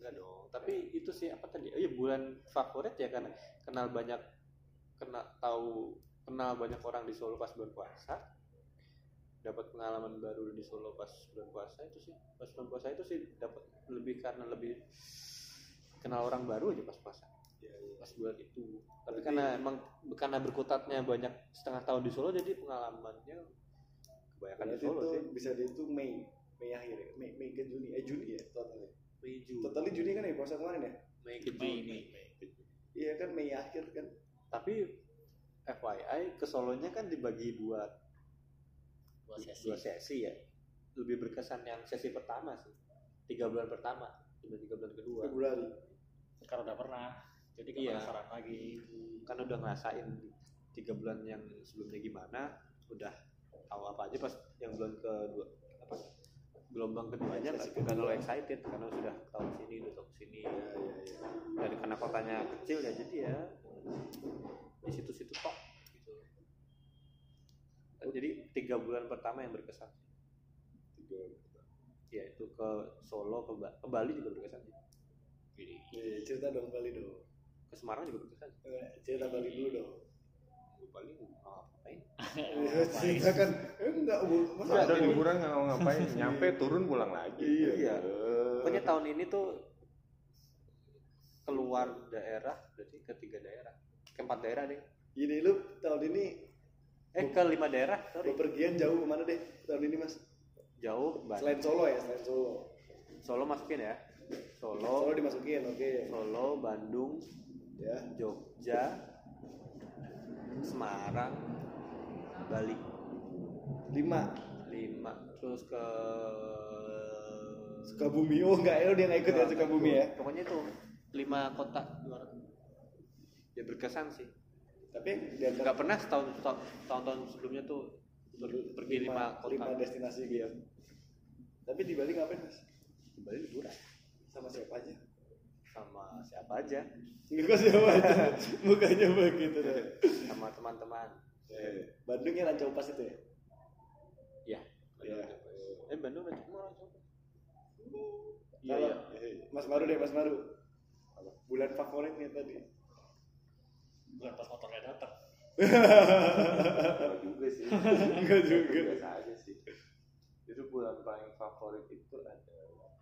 S7: enggak dong tapi itu sih apa tadi oh, iya bulan favorit ya karena kenal banyak kena tahu kenal banyak orang di Solo pas bulan puasa dapat pengalaman baru di Solo pas bulan puasa itu sih pas bulan puasa itu sih dapat lebih karena lebih kenal orang baru aja pas puasa
S4: Iya,
S7: pas bulan itu tapi karena emang karena berkutatnya banyak setengah tahun di Solo jadi pengalamannya kebanyakan Kan di
S4: Berarti
S7: Solo
S4: itu
S7: sih
S4: bisa dihitung Mei Mei akhir ya? Mei, Mei ke Juni eh Juni ya totalnya
S7: Mei Juni
S4: totalnya Juni kan ya puasa kemarin ya
S7: Mei ke
S5: Mei,
S7: Juni.
S4: iya kan Mei akhir kan
S7: tapi FYI ke Solonya kan dibagi dua
S5: dua sesi
S7: dua sesi ya lebih berkesan yang sesi pertama sih tiga bulan pertama dibanding tiga bulan kedua
S4: Februari
S5: karena udah pernah jadi kan
S7: Iya.
S5: penasaran lagi
S7: kan udah ngerasain tiga bulan yang sebelumnya gimana udah tahu apa aja pas yang bulan kedua apa gelombang keduanya nggak bukan lo excited karena sudah tahu sini udah tahu sini iya, dan karena kotanya kecil ya jadi ya di situ-situ kok gitu. jadi tiga bulan pertama yang berkesan tiga ya itu ke Solo ke, Ba- ke Bali juga berkesan
S4: Iya, cerita dong Bali dong
S7: ke Semarang juga berkesan
S4: Eh, cerita Bali dulu dong
S7: ke Bali Oh, ngapain
S4: Iya, cerita kan eh, enggak bu- masa
S6: ada liburan nggak mau ngapain nyampe turun pulang lagi
S7: Iya. Pokoknya tahun ini tuh keluar daerah berarti ke tiga daerah, ke empat daerah deh.
S4: gini lu tahun ini
S7: Eh ke lima daerah, sorry.
S4: bepergian jauh kemana deh tahun ini mas
S7: Jauh, Bali.
S4: selain Solo ya selain Solo
S7: Solo masukin ya.
S4: Solo
S7: Solo,
S4: dimasukin oke
S7: Solo, Bandung,
S4: ya
S7: Jogja, Semarang, Bali.
S4: lima
S7: Lima terus ke
S4: Sukabumi oh enggak ya lu dia nggak ikut
S7: Iya,
S4: ya Sukabumi ya
S7: Pokoknya itu lima kota luar. Ya berkesan sih.
S4: tapi dia
S7: nggak pernah setahun setahun- tahun-tahun sebelumnya tuh ber- pergi lima, kota
S4: lima destinasi gitu tapi di Bali ngapain mas
S7: Di Bali liburan
S4: sama siapa aja
S7: sama siapa aja
S4: enggak kok siapa aja mukanya begitu deh
S7: sama teman-teman
S4: Bandung ya Rancau Pas itu ya
S7: ya
S4: Iya.
S7: eh Bandung udah cuma langsung iya
S4: Kalau-
S7: iya
S4: Mas Maru deh Mas Maru bulan favoritnya tadi
S5: bukan pas motornya datang
S6: Enggak juga sih
S4: Enggak juga.
S6: biasa aja sih itu bulan paling favorit itu adalah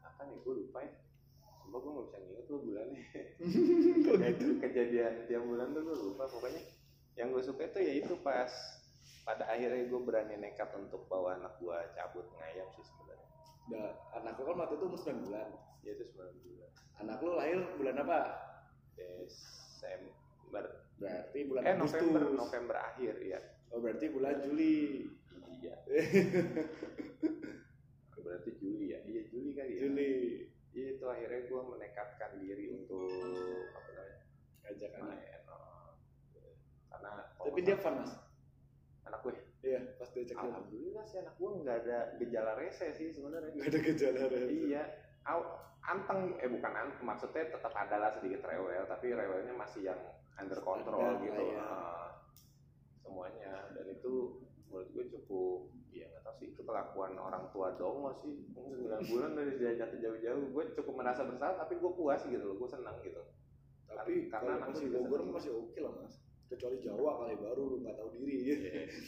S6: apa nih gue lupa ya Sumpah gue gak bisa nginget tuh bulannya Kok gitu? Kejadian tiap bulan tuh gue lupa Pokoknya yang gue suka itu ya itu pas Pada akhirnya gue berani nekat untuk bawa anak gue cabut ngayam sih sebenarnya
S4: nah, anak lu kan waktu itu umur 9 bulan
S6: Ya itu 9 bulan
S4: anak lu lahir bulan apa
S6: Desember
S4: berarti bulan
S6: Eh
S4: Agustus
S6: November, November akhir ya
S4: oh berarti bulan Juli
S6: Iya. Berarti Juli ya? Iya Juli kali ya.
S4: Juli
S6: Iya itu akhirnya gue menekatkan diri untuk apa namanya
S4: ajak anak
S6: main. oh. Karena oh,
S4: tapi dia fun mas
S6: anak ya. gue.
S4: iya pas diajak dia
S6: Alhamdulillah sih anak gue nggak ada gejala rese sih sebenarnya.
S4: nggak ada gejala iya
S6: iya. Au- anteng eh bukan anteng maksudnya tetap adalah sedikit rewel tapi rewelnya masih yang under control
S4: Standar
S6: gitu
S4: lah ya.
S6: Ah, semuanya dan itu menurut gue cukup ya nggak tahu sih itu kelakuan orang tua dongo sih sembilan bulan dari diajak jauh-jauh gue cukup merasa bersalah tapi gue puas gitu loh gue senang gitu Karena
S4: tapi karena
S6: anak
S4: masih
S6: juga
S4: Bogor
S6: seneng.
S4: masih oke lah mas kecuali Jawa kali baru lu nggak tahu diri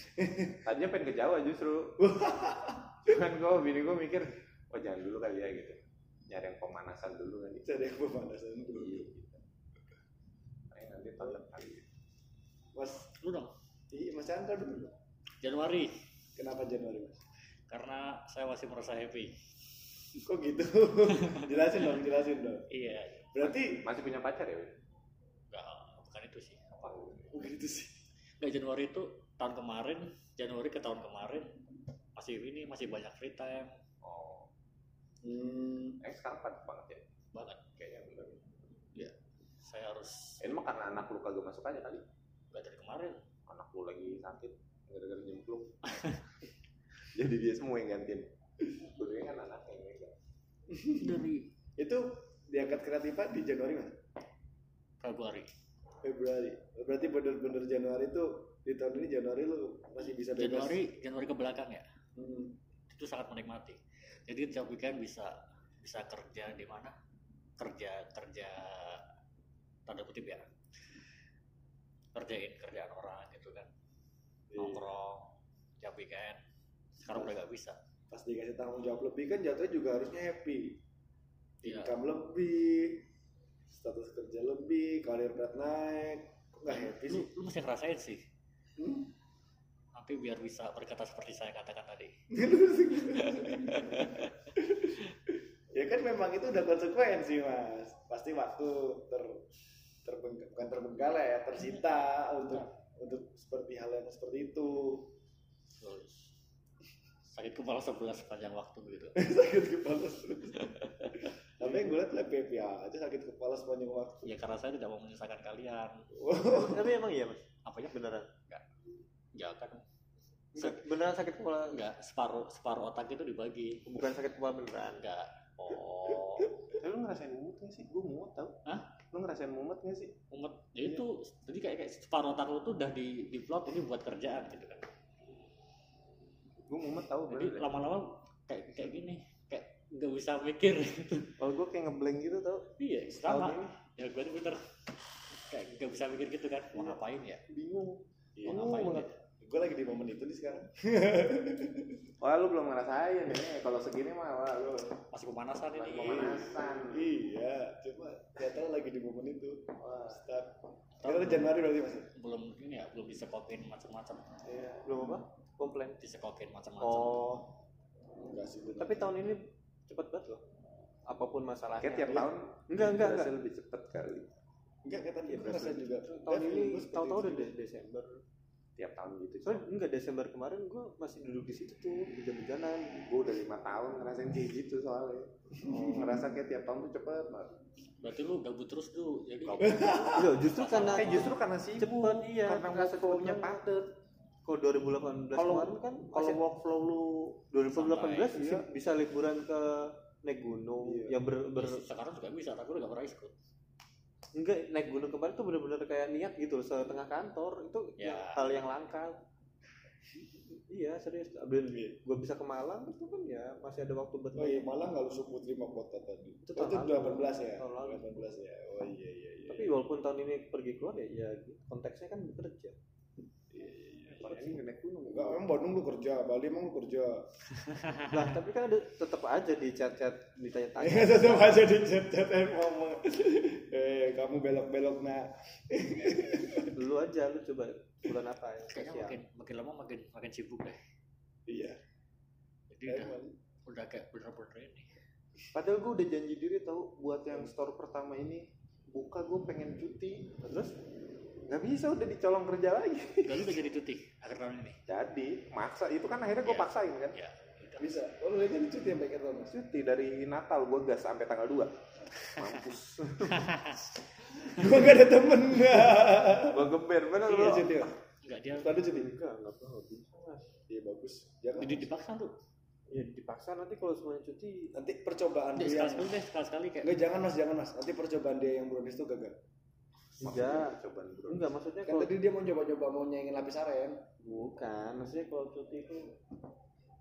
S6: tadinya pengen ke Jawa justru cuman gue bini gue mikir oh jangan dulu kali ya gitu nyari yang pemanasan dulu kan
S4: cari yang pemanasan dulu
S6: Iya, gitu. Makanya nanti tahun depan gitu.
S4: mas
S5: lu dong
S4: iya mas Chandra dulu
S5: Januari
S4: kenapa Januari mas
S5: karena saya masih merasa happy
S4: kok gitu jelasin dong jelasin dong
S5: iya
S4: berarti
S6: Masih punya pacar ya?
S5: enggak bukan itu sih
S6: Apa?
S4: begitu sih
S5: enggak Januari itu tahun kemarin Januari ke tahun kemarin masih ini masih banyak free time
S6: Oh,
S4: hmm,
S6: eh sekarang padat banget ya?
S5: banget
S6: Kayaknya bener.
S5: saya harus
S6: Ini mah karena anak lu kagak masuk aja kali.
S5: enggak dari kemarin
S6: Anak lu lagi sakit, gara-gara nyemplung. Jadi dia semua yang gantiin. Gue kan anaknya yang megang.
S1: Dari
S4: itu diangkat kreatifan di Januari mana?
S5: Februari
S4: Februari. Berarti bener-bener Januari itu di tahun ini Januari lu masih bisa bebas.
S5: Januari Januari ke belakang ya
S4: Hmm.
S5: itu sangat menikmati jadi tiap weekend bisa bisa kerja di mana kerja kerja tanda kutip ya kerjain kerjaan orang gitu kan nongkrong tiap weekend sekarang udah nggak bisa
S4: Pas dikasih tanggung jawab lebih kan jatuhnya juga harusnya happy.
S5: Iya.
S4: Income lebih, status kerja lebih, karir berat naik. Kok nggak happy
S5: lu,
S4: sih?
S5: lu mesti ngerasain sih
S4: Hmm?
S5: tapi biar bisa berkata seperti saya katakan tadi
S4: ya kan memang itu udah konsekuensi mas pasti waktu ter terbengk- bukan terbengkalai ya tersita
S5: Hmm. Ya.
S4: untuk untuk seperti hal yang seperti itu
S5: terus sakit kepala sebelah sepanjang waktu gitu
S4: sakit kepala
S5: Iya,
S4: terus tapi yang gue liat happy happy aja sakit kepala sepanjang waktu
S5: ya karena saya tidak mau menyusahkan kalian
S7: tapi emang iya mas
S5: apanya
S7: beneran
S5: ya kan Se-
S7: beneran sakit kepala enggak
S5: enggak separuh separuh otak itu dibagi
S7: bukan sakit kepala beneran
S5: enggak oh
S6: Tapi lu ngerasain mumet gak sih? Gue mumet tau
S5: Hah?
S6: Lu ngerasain mumet gak sih?
S5: umat ya itu jadi kayak kayak separuh otak lu tuh udah di di plot ini buat kerjaan gitu kan
S6: Gue mumet tau
S5: jadi lama-lama kayak kayak gini kayak nggak bisa mikir
S7: kalau gue kayak ngeblank gitu tau
S5: iya
S7: tahun
S5: sama ya gue tuh bener kayak nggak bisa mikir gitu kan
S4: Iya.
S5: mau ngapain ya
S7: ini bingung
S5: mau
S7: Bingung
S5: ngapain ya
S7: banget.
S4: gue lagi di momen itu nih sekarang
S6: Wah lu belum ngerasain ya Kalau segini mah wah lu
S5: masih pemanasan ini
S6: pemanasan
S4: iya cuma ternyata lagi di momen itu
S6: Wah
S4: start kita udah Januari berarti masih
S5: belum ini ya belum disekokin macam-macam
S4: iya
S7: belum apa komplain
S5: disekokin macam-macam
S7: oh
S4: enggak sih bener.
S7: tapi tahun ini cepet banget loh apapun masalahnya Iya.
S6: Kayak tiap tahun
S7: enggak enggak
S6: berasa
S7: enggak
S6: lebih cepet kali
S4: enggak kata dia merasa juga
S7: tahun
S4: Dev,
S7: ini
S4: gua seperti
S7: tahu-tahu
S4: itu
S7: udah
S4: juga.
S7: De- Desember
S6: Tiap tahun gitu
S7: soalnya enggak Desember kemarin gue masih duduk di situ tuh hujan-hujanan
S6: Gue udah lima tahun ngerasain kayak gitu soalnya Ngerasa kayak tiap tahun tuh cepet banget
S5: berarti lu gabut terus tuh jadi
S7: Loh, justru karena
S6: Eh justru karena sibuk
S7: Cepet, iya.
S6: Karena
S7: Karena
S6: workflow-nya
S7: cepet banget.
S6: padat
S7: kalau 2018
S6: Kalau-
S7: kemarin kan
S6: Kalau
S7: masih-
S6: workflow lu
S7: 2018
S5: Santai.
S7: sih bisa liburan ke naik gunung
S4: Iya.
S7: ya ber, ber
S5: sekarang juga bisa tapi lu nggak pernah ikut
S7: enggak naik gunung kemarin tuh bener-bener kayak niat gitu loh setengah kantor itu
S5: Ya.
S7: yang- hal yang langka iya serius abis gue bisa ke Malang itu kan ya masih ada waktu buat
S4: Oh iya, malah nggak lusuk putri mau kota tadi. Oh, Itu,
S7: Itu tahun lalu.
S4: 18 ya.
S7: Tahun lalu.
S4: 18 ya. Oh iya iya iya.
S7: tapi walaupun tahun ini pergi keluar ya, ya konteksnya kan bekerja
S4: Iya, iya, iya.
S6: Ini naik gunung
S4: Enggak, emang Bandung lu kerja, Bali emang lu kerja.
S7: lah tapi kan ada tetap aja di chat-chat
S4: Iya,
S7: ditanya-tanya
S4: tetap aja di chat chat ngomong. Eh, kamu belok-belok nak.
S7: lu aja lu coba bulan apa ya
S5: kayaknya
S7: spesial
S5: makin makin lama makin makin sibuk deh
S4: Iya.
S5: jadi udah
S4: Emang.
S5: udah kayak bener-bener ini
S6: Padahal gue udah janji diri tau buat yang store pertama ini buka gue pengen cuti terus nggak bisa udah dicolong kerja lagi
S5: Enggak lu udah jadi cuti akhir tahun ini.
S6: jadi maksa itu kan akhirnya gue
S5: Iya.
S6: paksain kan
S5: Ya.
S4: Bisa. Oh, lu lihatnya lucu tiap pakai Thomas.
S6: cuti dari Natal gue gas sampai tanggal 2 mampus
S4: Gua gak ada temen.
S6: gue geber bener
S4: Iya,
S6: loh
S4: cuti.
S5: Enggak dia
S4: Tadi cuti.
S7: enggak enggak pernah bisa
S4: Iya, bagus. Jangan.
S5: jadi dipaksa tuh.
S7: ya dipaksa nanti kalau semuanya cuti
S4: Nanti percobaan
S5: Enggak
S4: dia. yang-
S5: sekali sekali deh, sekali sekali kayak
S4: Enggak, jangan Mas, jangan Mas. Nanti percobaan dia yang brownies tuh gagal.
S7: enggak
S6: cobaan bro
S7: enggak maksudnya
S4: Kan
S7: kalau
S4: tadi dia mau coba-coba mau nyaingin lapis aren.
S7: bukan maksudnya kalau cuti itu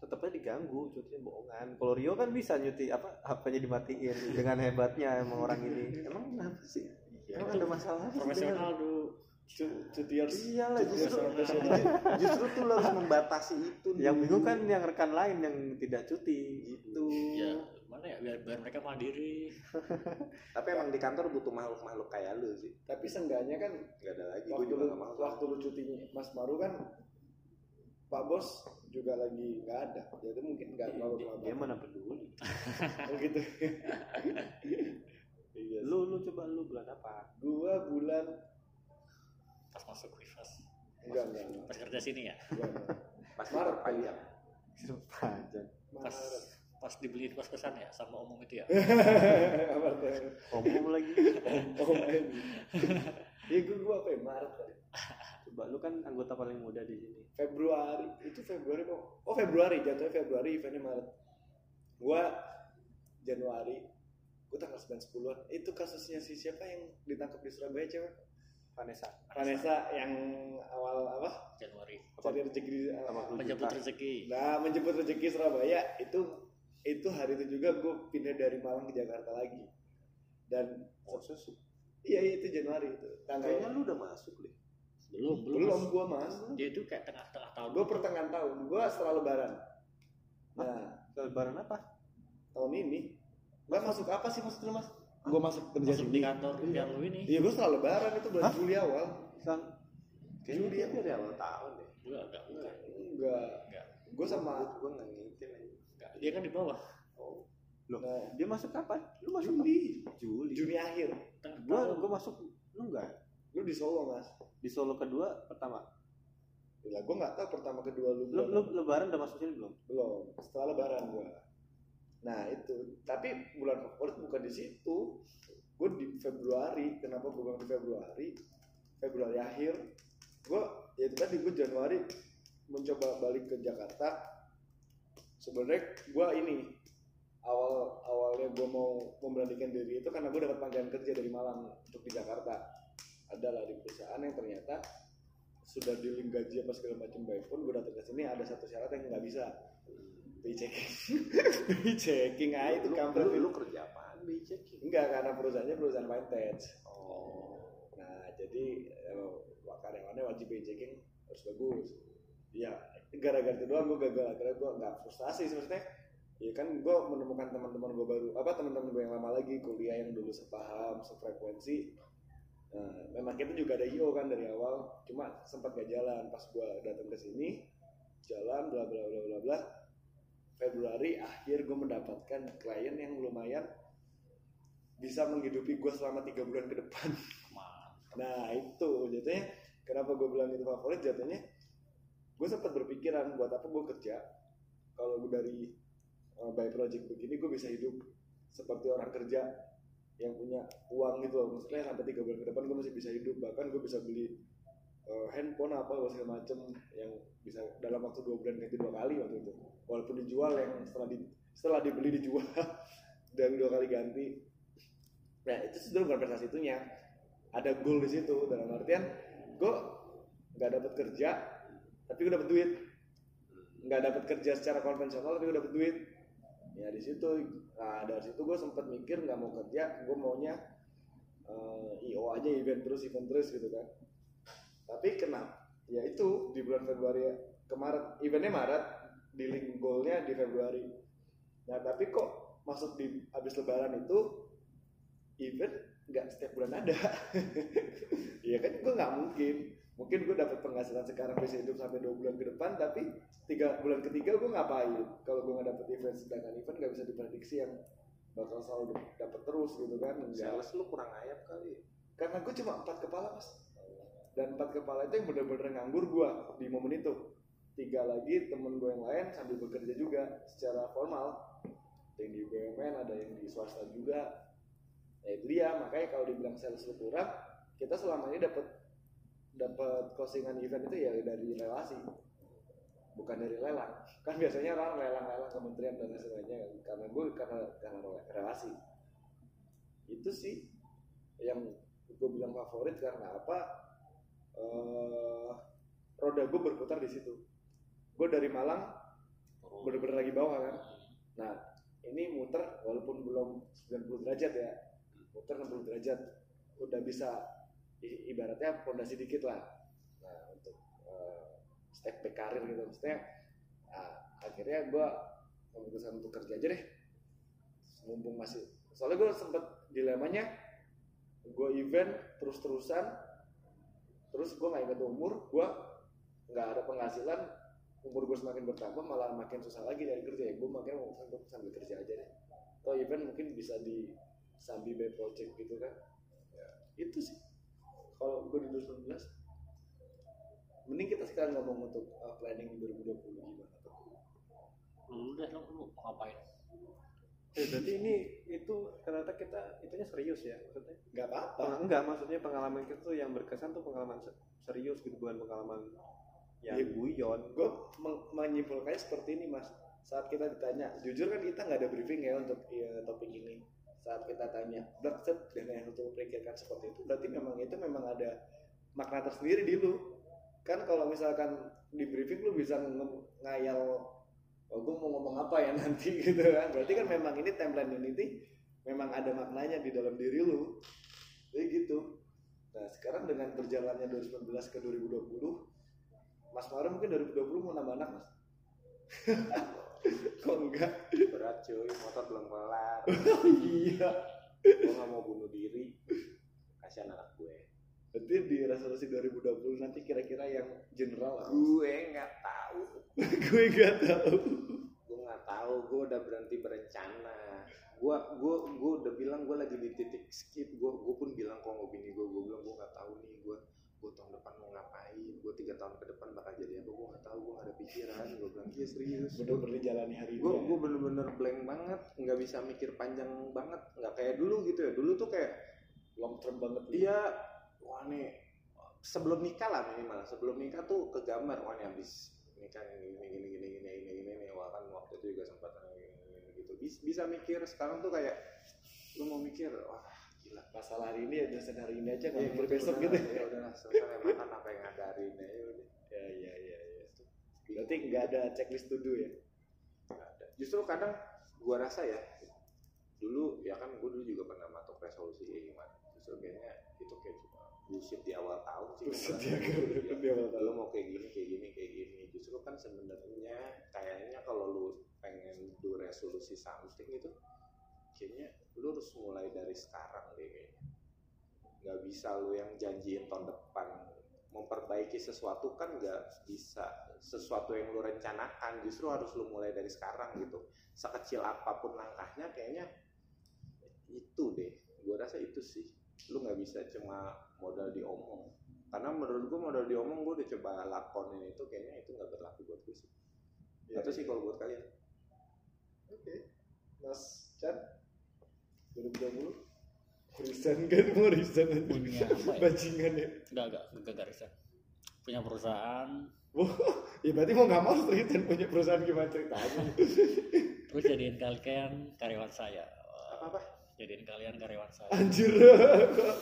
S7: tetapnya diganggu cutinya bohongan kalau Rio kan bisa nyuti apa apanya dimatiin dengan hebatnya emang orang ini emang kenapa sih
S4: Iya.
S7: emang ada masalah apa sih dengan-
S5: profesional tuh.
S4: Cu- Cutiers.
S7: iyalah
S4: Iya,
S7: justru
S6: justru tuh lo harus membatasi itu
S7: yang bingung kan yang rekan lain yang tidak cuti gitu
S5: Ya,
S4: Iya.
S5: mana ya biar, biar mereka mandiri.
S6: tapi emang di kantor butuh makhluk makhluk kayak lu sih
S4: Tapi seenggaknya kan
S6: nggak ada lagi gue
S4: waktu
S6: juga
S4: lu,
S6: nggak mau
S4: waktu lu cutinya Mas Maru kan Pak Bos juga lagi nggak ada jadi mungkin nggak terlalu
S7: Iya, dia
S4: kelamaan
S7: mana peduli
S4: Oh, gitu iya
S7: lu lu coba lu bulan apa
S4: gua bulan
S5: Pas masuk Wivas.
S4: enggak enggak enggak,
S5: Pas kerja sini ya.
S4: enggak
S6: pas
S4: Maret kali
S6: panjang
S7: sepanjang
S5: Pas pas dibeliin pas kesan ya sama omong itu ya.
S4: Maret ya.
S7: omong lagi
S4: oh my ya gua gua apa ya Maret ya?
S7: coba lu kan anggota paling muda di sini
S4: Februari itu Februari mau oh Februari jatuhnya Februari eventnya Maret gua Januari gua tanggal 9 10-an itu kasusnya si siapa yang ditangkap di Surabaya cewek
S7: Vanessa
S4: Vanessa yang awal apa
S5: Januari
S4: cari rezeki di
S7: sama lu
S5: penjemput
S7: juta.
S5: rezeki
S4: nah menjemput rezeki Surabaya itu itu hari itu juga gue pindah dari Malang ke Jakarta lagi dan
S7: Khusus.
S4: iya iya, itu Januari itu
S7: Oh, Kayaknya
S4: tanggal
S7: lu udah masuk deh.
S5: belum
S4: belum gue masuk
S5: dia itu kayak tengah-tengah tahun
S4: gue pertengahan tahun gue setelah lebaran nah
S7: Lebaran apa?
S4: tahun ini gue masuk apa sih maksud lu mas gue masuk kerja
S5: masuk di
S4: sini
S5: kantor yang lu ini
S4: iya gue setelah lebaran itu bulan
S7: Hah?
S4: Juli awal
S7: Sang
S6: Kayaknya dia dari awal tahun deh.
S5: gue agak bukan
S4: enggak
S5: Enggak.
S4: gue sama
S6: Gue nggak ngikutin aja.
S5: Enggak. dia kan di bawah
S4: nah,
S7: dia masuk kapan? Lu masuk
S4: Juli
S7: kapan? Juli.
S4: Juni akhir
S5: tengah
S7: Gua
S5: tahun.
S7: gua masuk lu enggak?
S4: lu di Solo mas
S7: Di Solo kedua pertama.
S4: Ya, gue nggak tahu pertama kedua lu
S7: Lu,
S4: berapa.
S7: lu lebaran udah masuk sini belum?
S4: belum setelah lebaran gua nah itu tapi bulan favorit bukan di situ gue di Februari kenapa gue bilang di Februari Februari akhir gue ya itu tadi gue Januari mencoba balik ke Jakarta sebenarnya gue ini awal awalnya gue mau memberanikan diri itu karena gue dapat panggilan kerja dari Malang untuk di Jakarta adalah di perusahaan yang ternyata sudah dealing gaji apa segala macam baik pun gue datang ke sini ada satu syarat yang nggak bisa bi checking bi checking aja itu
S6: Lu-
S4: kampret
S6: lu, lu,
S4: itu
S6: kerja apaan? Bi checking.
S4: enggak karena perusahaannya perusahaan vintage
S6: Oh.
S4: nah jadi eh, karyawannya wajib bi checking harus bagus ya gara-gara itu doang gue gagal akhirnya gue nggak frustasi sih, maksudnya ya kan gue menemukan teman-teman gue baru apa teman-teman gue yang lama lagi kuliah yang dulu sepaham sefrekuensi Nah, memang kita juga ada IO kan dari awal cuma sempat gak jalan pas gue datang ke sini jalan bla bla bla bla bla Februari akhir gue mendapatkan klien yang lumayan bisa menghidupi gue selama tiga bulan ke depan nah itu jatuhnya kenapa gue bilang itu favorit jatuhnya gue sempat berpikiran buat apa gue kerja kalau gue dari eh, by project begini gue bisa hidup seperti orang kerja yang punya uang gitu loh maksudnya sampai tiga bulan ke depan gue masih bisa hidup bahkan gue bisa beli eh, handphone apa segala macem yang bisa dalam waktu dua bulan ganti dua kali waktu itu walaupun dijual yang setelah di setelah dibeli dijual dan dua kali ganti nah itu sebenarnya bukan prestasi itunya ada goal di situ dalam artian gue nggak dapat kerja tapi gue dapat duit nggak dapat kerja secara konvensional tapi gue dapat duit ya di situ nah dari situ gue sempat mikir nggak mau kerja gue maunya eh, io aja event terus event terus gitu kan tapi kenapa ya itu di bulan Februari ya, ke Maret eventnya Maret di link goalnya di Februari nah tapi kok masuk di habis Lebaran itu event nggak setiap bulan ada Iya kan gue nggak mungkin mungkin gue dapat penghasilan sekarang bisa hidup sampai dua bulan ke depan tapi tiga bulan ketiga gue ngapain kalau gue nggak dapet event sedangkan event nggak bisa diprediksi yang bakal selalu dapet terus gitu kan Nggak
S6: Sales lu kurang ayam kali. ya?
S4: karena gue cuma empat kepala mas dan empat kepala itu yang bener-bener nganggur gue di momen itu tiga lagi temen gue yang lain sambil bekerja juga secara formal ada yang di BUMN ada yang di swasta juga ya itu dia makanya kalau dibilang sales lu kurang kita selama ini dapat dapat closingan event itu ya dari relasi bukan dari lelang kan biasanya orang lelang lelang kementerian dan lain sebagainya kan. karena gue karena karena relasi itu sih yang gue bilang favorit karena apa eh roda gue berputar di situ gue dari Malang bener-bener lagi bawah kan nah ini muter walaupun belum 90 derajat ya muter 60 derajat udah bisa i- ibaratnya pondasi dikit lah nah untuk eh, step back karir gitu maksudnya nah, akhirnya gue memutuskan untuk kerja aja deh mumpung masih soalnya gue sempet dilemanya gue event terus terusan terus gue nggak inget umur gue nggak ada penghasilan umur gue semakin bertambah malah makin susah lagi dari kerja ya gue makin memutuskan untuk sambil kerja aja deh atau event mungkin bisa di sambil by project gitu kan
S7: Ya.
S4: itu sih kalau gue di 2019 mending kita sekarang ngomong untuk uh, planning 2020 gimana tuh
S5: lu deh lu lu mau ngapain
S7: Eh, berarti ini itu ternyata kita itunya serius ya maksudnya. Oh,
S4: nggak apa-apa
S7: Peng- Eh, enggak maksudnya pengalaman kita tuh yang berkesan tuh pengalaman se-
S5: Oh,
S7: serius gitu bukan pengalaman yang
S4: Iya.
S7: guyon.
S4: gue menyimpulkannya seperti ini mas saat kita ditanya jujur kan kita nggak ada briefing ya untuk ya, topik ini saat kita tanya black set dan yang untuk memikirkan seperti itu berarti memang itu memang ada makna tersendiri di lu kan kalau misalkan di briefing lu bisa nge- ngayal oh gue mau ngomong apa ya nanti gitu kan berarti kan memang ini timeline unity memang ada maknanya di dalam diri lu jadi gitu nah sekarang dengan berjalannya 2019 ke 2020 Mas Maro mungkin 2020 mau nambah anak mas kok enggak
S6: berat cuy motor belum kelar
S4: iya
S6: gue nggak mau bunuh diri kasihan anak gue
S4: berarti di resolusi 2020 nanti kira-kira yang general apa?
S6: gue nggak tahu
S4: gue gak tahu
S6: gue nggak tahu gue udah berhenti berencana gue gue gue udah bilang gue lagi di titik skip gue gue pun bilang kok mau bini gue gue bilang gue nggak tahu nih gue gue tahun depan mau ngapain gue tiga tahun ke depan bakal jadi apa gue nggak tahu gue nggak ada pikiran gue bilang iya serius
S4: bener-bener jalani hari ini
S6: gue
S4: ya.
S6: gue bener-bener blank banget nggak bisa mikir panjang banget nggak kayak dulu gitu ya dulu tuh kayak
S4: long term banget gitu. lu.
S6: Iya, wah nih sebelum nikah lah minimal. Sebelum nikah tuh kegambar wah nih habis nikah ini gini gini gini gini gini gini nih wah kan waktu itu juga sempat gini, gini, gini, gitu. Bis- Bisa, mikir sekarang tuh kayak lu mau mikir wah gila.
S4: masalah hari ini ya dosen hari ini aja nggak
S6: Ya,
S4: mikir
S6: gitu,
S4: besok
S6: udahlah,
S4: gitu
S6: ya udahlah selesai makan apa yang ada hari ini ya udah. Gitu.
S4: ya iya iya iya berarti nggak ada checklist to do ya
S6: Nggak ada. Justru kadang gua rasa ya dulu ya kan gua dulu juga pernah masuk resolusi kayak gimana. Justru kayaknya itu kayak cuma bullshit di awal tahun sih.
S4: Bullshit
S6: Iya.
S4: di awal tahun. Di awal tahun.
S6: Gitu, Lu mau kayak gini, kayak gini, kayak gini. Justru kan sebenarnya kayaknya kalau lu pengen do resolusi something itu kayaknya lu harus mulai dari sekarang deh kayaknya. Gak bisa lu yang janjiin tahun depan memperbaiki sesuatu kan gak bisa sesuatu yang lu rencanakan justru harus lu mulai dari sekarang gitu sekecil apapun langkahnya kayaknya itu deh gue rasa itu sih lu nggak bisa cuma modal diomong karena menurut gue modal diomong gue udah coba lakonin itu kayaknya itu nggak berlaku buat gue sih
S4: Iya.
S6: atau sih kalau buat kalian
S4: oke mas Chan 2020 Resign kan mau resign aja.
S5: Punya apa ya?
S4: bajingan ya
S5: enggak enggak enggak enggak resign. punya perusahaan
S4: Wah, ya berarti mau nggak mau harus resign punya perusahaan gimana ceritanya
S5: terus jadiin kalian karyawan saya
S6: apa apa
S5: jadiin kalian karyawan saya
S4: anjir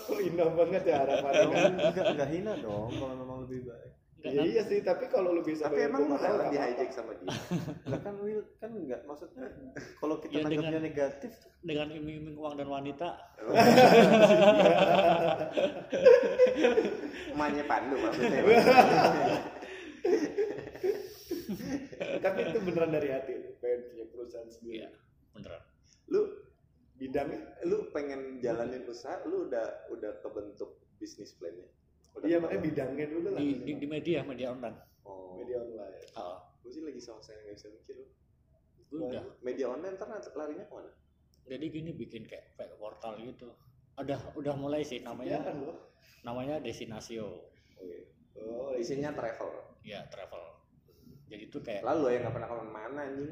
S4: kok indah banget ya
S5: Iya, kan?
S4: harapannya
S7: Oh, enggak enggak hina dong kalau memang lebih baik
S5: enggak
S4: Ya
S5: kan?
S4: iya sih tapi kalau lu bisa
S6: tapi
S4: bayar
S6: emang lu
S4: mahal,
S6: rela
S4: nggak
S6: di
S4: apa-apa.
S6: hijack sama dia
S7: lah kan Will kan enggak maksudnya kalau kita
S5: Ya, dengan-
S7: tanggapnya negatif
S5: dengan iming-iming uang dan wanita
S6: emaknya pandu maksudnya
S4: Iya. tapi itu beneran dari hati lu pengen punya perusahaan sendiri
S5: iya beneran
S6: lu
S4: bidangnya
S6: lu pengen jalanin usaha lu udah udah kebentuk bisnis plannya Udah
S4: iya
S6: kebentuk?
S4: makanya bidangnya dulu lah
S5: di, di, di media media online
S6: oh
S4: media online
S5: oh,
S6: gue sih lagi sama saya nggak bisa mikir lu
S5: gue udah
S6: media online ntar larinya kemana
S5: jadi gini bikin kayak, kayak portal gitu udah udah mulai sih
S4: ya
S5: namanya
S4: loh
S5: namanya destinasio
S6: oh iya
S4: oh iya.
S6: isinya travel
S5: ya travel jadi itu kayak
S6: lalu ya nggak pernah kemana-mana anjing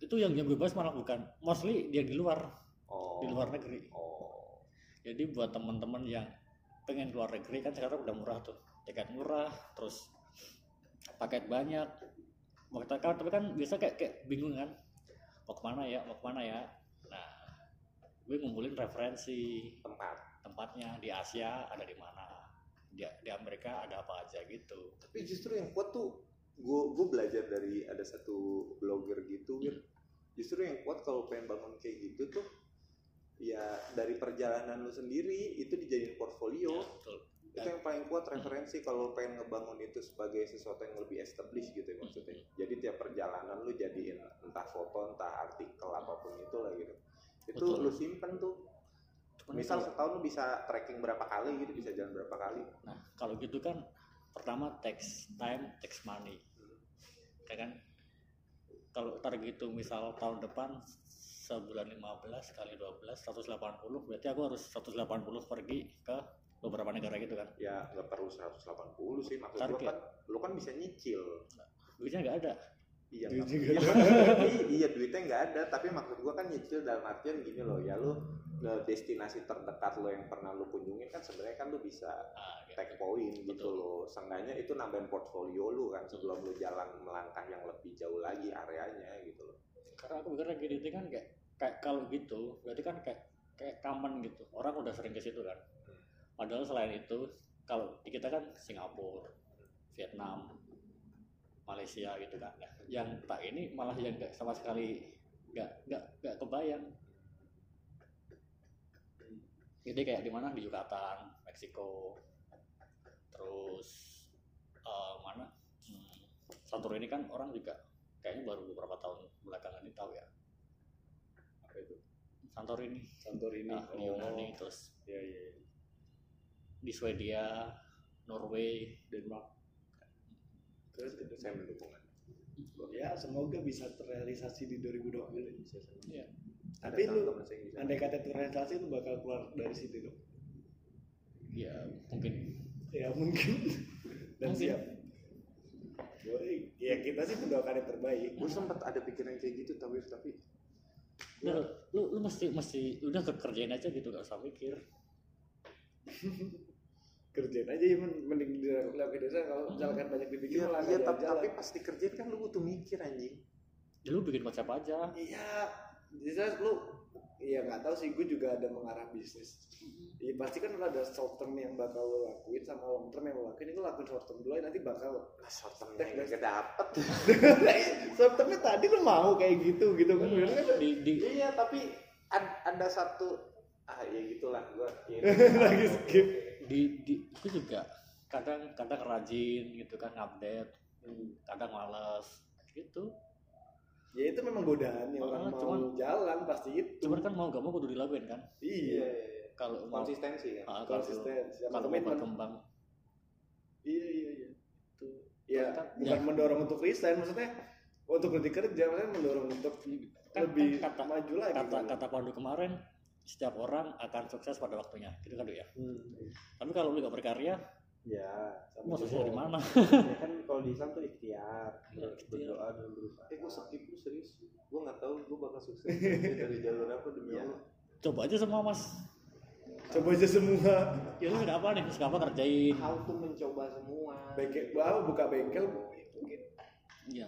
S5: itu yang yang bebas malah bukan mostly dia di luar
S6: oh
S5: di luar negeri
S6: oh
S5: jadi buat teman-teman yang pengen keluar negeri kan sekarang udah murah tuh tiket murah terus paket banyak mau kita kan tapi kan biasa kayak kayak bingung kan mau kemana ya mau kemana ya nah gue ngumpulin referensi
S6: tempat
S5: tempatnya di Asia ada di mana di, di Amerika ada apa aja gitu
S6: tapi justru yang kuat tuh gue belajar dari ada satu blogger gitu Win. justru yang kuat kalau pengen bangun kayak gitu tuh ya dari perjalanan lu sendiri itu dijadiin portfolio
S5: Ya, betul
S6: itu yang paling kuat referensi kalau pengen ngebangun itu sebagai sesuatu yang lebih established gitu ya maksudnya jadi tiap perjalanan lu jadiin entah foto entah artikel apapun itu lah gitu itu
S5: Betul.
S6: lu simpen tuh
S5: Cuman
S6: misal
S5: kalau-
S6: setahun lu bisa tracking berapa kali gitu bisa jalan berapa kali
S5: Nah, kalau gitu kan pertama tax time, tax money. Ya kan? Kalau target itu misal tahun depan sebulan 15 kali 12 180 berarti aku harus 180 pergi ke beberapa negara gitu kan.
S6: ya nggak perlu 180 sih maksud lu
S5: Target.
S6: kan lu kan bisa nyicil
S5: Duitnya nggak ada.
S6: iya
S4: Duit
S6: nggak-
S4: juga
S6: iya, maksud- iya duitnya nggak ada tapi maksud gua kan nyicil dalam artian gini loh ya lu eh, destinasi terdekat lo yang pernah lu kunjungin kan sebenarnya kan lu bisa
S5: Ah, ya.
S6: take point gitu
S5: Betul.
S6: loh seenggaknya itu nambahin portfolio lu kan sebelum lu jalan melangkah yang lebih jauh lagi areanya gitu loh
S5: aku pikir LGBT kan kayak kayak kalau gitu berarti kan kayak kayak common gitu orang udah sering ke situ kan padahal selain itu kalau di kita kan Singapura Vietnam Malaysia gitu kan Nah, yang tak ini malah yang nggak sama sekali nggak nggak nggak kebayang jadi kayak di mana di Yucatan Meksiko terus eh, mana hmm, Santorini ini kan orang juga kayaknya baru beberapa tahun belakangan ini tahu ya apa itu Santorini
S4: Santorini Oh.
S5: ah, di Yunani terus
S4: Iya, iya.
S5: di Swedia Norway
S4: Denmark. Terus terus.
S6: saya mendukung
S4: Ya, semoga bisa terrealisasi di 2020 Indonesia.
S5: Iya.
S4: Tapi
S6: Ada
S4: lu,
S6: teman-teman saya yang bisa.
S4: andai kata terrealisasi lu bakal keluar dari situ dong.
S5: ya mungkin
S4: Ya mungkin. Dan
S5: Mungkin.
S4: siap. Boleh. Ya kita sih mendoakan yang terbaik.
S6: gue sempet ada pikiran kayak gitu tapi tapi
S5: Udah, lu lu mesti mesti udah kerjain aja gitu gak usah mikir
S4: Kerjain aja ya men- mending dilakukan desa kalau misalkan banyak dibikin
S6: iya,
S4: malah
S6: iya,
S4: nggak
S6: tapi,
S4: jalan-jalan.
S6: tapi pas dikerjain kan lu butuh mikir anjing
S5: ya lu bikin konsep aja
S4: Iya, jelas lu Iya nggak tahu sih, gue juga ada mengarah bisnis.
S5: Mm-hmm.
S4: Iya pasti kan ada short term yang bakal lo lakuin sama long term yang lo lakuin. Ini lo lakuin short term dulu, nanti bakal
S6: pas short-termnya nggak kedapet
S4: short termnya tadi lo mau kayak gitu gitu kan? Bener kan?
S5: di di
S6: iya tapi ad- ada satu ah ya gitulah gue
S4: Lagi skip.
S5: di di aku juga kadang kadang rajin gitu kan update
S4: Hmm.
S5: kadang males gitu
S4: Ya itu memang godaan yang orang
S5: Ah,
S4: mau
S5: cuman-
S4: jalan pasti itu.
S5: cuman kan mau gak mau kudu dilakuin kan
S4: Iya,
S5: kalau mau
S6: konsistensi kan
S5: ah, kalau
S4: konsisten. sama
S5: kalau mau
S4: komitmen.
S5: berkembang
S4: Iya iya iya. Itu. Ya
S5: Kan-
S4: bukan
S5: ya.
S4: mendorong untuk resign, maksudnya untuk berhenti kerja, maksudnya mendorong untuk
S5: kan,
S4: lebih
S5: kan kata
S4: maju lagi.
S5: kata
S4: gitu.
S5: kata Pandu kemarin setiap orang akan sukses pada waktunya gitu kan Du, ya
S7: Hmm.
S5: tapi kalau lu gak berkarya
S4: Iya.
S7: ya
S5: mau
S7: sama
S5: sukses dari
S7: juga.
S5: mana
S7: ya kan kalau di Islam tuh ikhtiar
S5: Iya,
S7: ber-
S5: ikhtiar.
S7: berdoa dan berusaha
S6: eh gue skip lu serius gue nggak tahu gue bakal sukses dari jalur apa demi Allah
S5: coba aja semua mas
S4: Coba aja semua.
S5: ya lu sudah apa nih sudah apa kerjain
S6: how to mencoba semua
S4: Bengkel, wow, buka bengkel mungkin.
S5: Iya.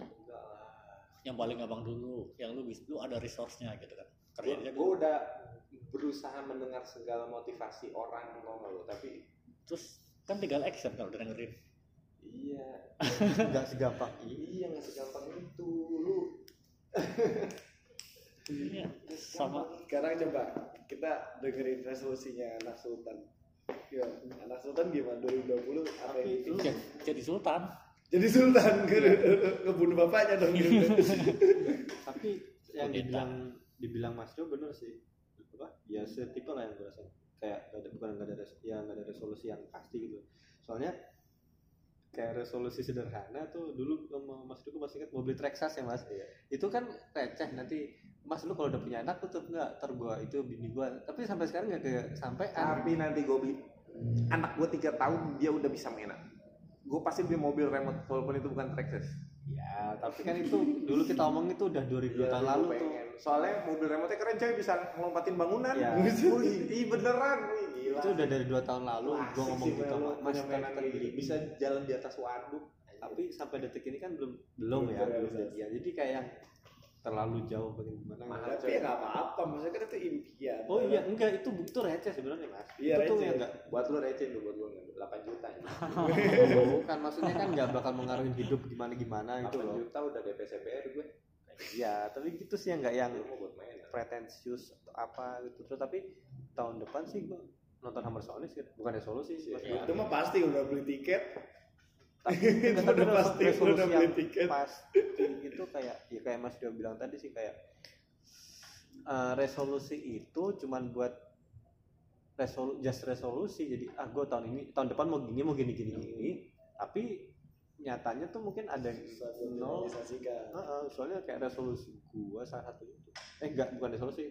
S5: Yang paling gampang dulu, yang lu bis- lu ada resource-nya gitu kan. Kerjain aja
S6: gue Iya,
S5: dulu.
S6: udah berusaha mendengar segala motivasi orang tau nggak lu tapi
S5: Terus kan tinggal action kalau udah dengerin.
S6: iya
S7: nggak segampang
S6: iya nggak segampang itu lu
S5: Iya. Sama
S4: Sekarang coba kita dengerin resolusinya anak Sultan. Ya, anak Sultan gimana 2020 apa yang bikin?
S5: lu jadi, jadi sultan.
S4: Jadi Sultan ke kebunuh bapaknya dong. gitu.
S7: tapi yang
S5: Kudeta.
S7: dibilang dibilang Mas Jo bener sih apa ya setipe lah yang gue rasain kayak gak ada, bukan gak ada res- ya gak ada resolusi yang pasti gitu soalnya kayak resolusi sederhana tuh dulu sama Mas Jo gue masih ingat mau beli Traxxas ya Mas
S6: Iya.
S7: itu kan receh nanti Mas lu kalau udah punya anak tuh nggak ter gua itu bini gua tapi sampai sekarang nggak ke sampai
S6: tapi nanti gue bi anak gue tiga tahun dia udah bisa mainan gue pasti beli mobil remote walaupun itu bukan Traxxas
S7: ya tapi kan itu dulu kita omong itu udah 2000 tahun lalu
S6: Iya, Gua
S7: tuh
S6: pengen. soalnya mobil remote keren coy bisa ngelompatin bangunan
S7: Ya.
S6: Wih, ih beneran wih gila
S7: itu udah dari dua tahun lalu gua
S6: Asik
S7: ngomong
S6: sih,
S7: gitu sama
S6: kalau
S7: Mas
S6: punya mainan
S7: kita
S6: kayak
S7: beli
S6: gitu. bisa jalan di atas waduk
S7: tapi sampai detik ini kan belum belum
S4: Belum
S7: ya belum
S4: terrealisasi.
S7: jadian jadi kayak yang terlalu jauh bagaimana
S6: Mahal.
S4: Tapi ya nggak apa-apa, maksudnya kan itu impian.
S7: oh iya enggak itu itu receh sebenarnya mas
S4: Iya,
S7: itu tuh
S4: receh.
S7: yang enggak
S6: buat lu receh lu buat lu 8 juta ya.
S7: bukan maksudnya kan enggak bakal mengaruhi hidup gimana gimana
S6: 8
S7: gitu loh
S6: juta udah DP CPR gue
S7: iya tapi gitu sih yang enggak yang
S6: lu mau buat mainan
S7: pretensius atau apa gitu terus tapi tahun depan sih gua nonton Hammer Sonic sih bukan resolusi sih mas
S4: Iya. Itu mah pasti udah beli tiket.
S7: tapi
S4: Itu udah pasti,
S7: resolusi
S4: udah
S7: yang
S4: beli tiket.
S7: pasti itu kayak ya kayak Mas Dio bilang tadi sih kayak eh, resolusi itu cuman buat resolu just resolusi jadi ah gue tahun ini tahun depan mau gini mau gini gini gini tapi nyatanya tuh mungkin ada
S4: Susah buat
S7: nol
S4: direalisasikan.
S7: Heeh, soalnya kayak resolusi gua salah satu itu eh enggak bukan resolusi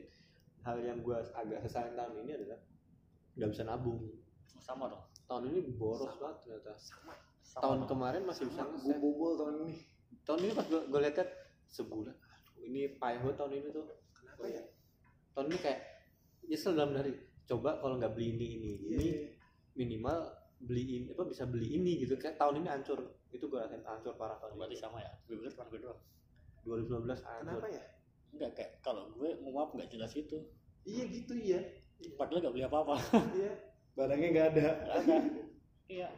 S7: hal yang gua agak sesalin tahun ini adalah nggak bisa nabung
S5: Sama dong.
S7: tahun ini boros banget ternyata
S5: Sama
S7: tahun
S5: dong.
S7: kemarin masih bisa
S6: gue
S7: nge-save.
S6: bobol tahun ini
S7: tahun ini pas gue, gue liatnya kan, sebulan aduh ini payah banget tahun ini tuh kenapa ya tahun ini kayak nyesel dalam dari coba kalau nggak beli ini ini ini minimal beli ini apa bisa beli ini gitu kayak tahun ini hancur itu gue rasain hancur parah tahun
S5: berarti
S7: ini
S5: sama ya. Gue pikir cuma gue doang.
S7: 2019 hancur
S6: ya
S5: nggak kayak kalau gue nguap nggak jelas itu
S4: iya gitu ya
S5: padahal nggak beli apa-apa
S4: iya barangnya nggak ada
S5: iya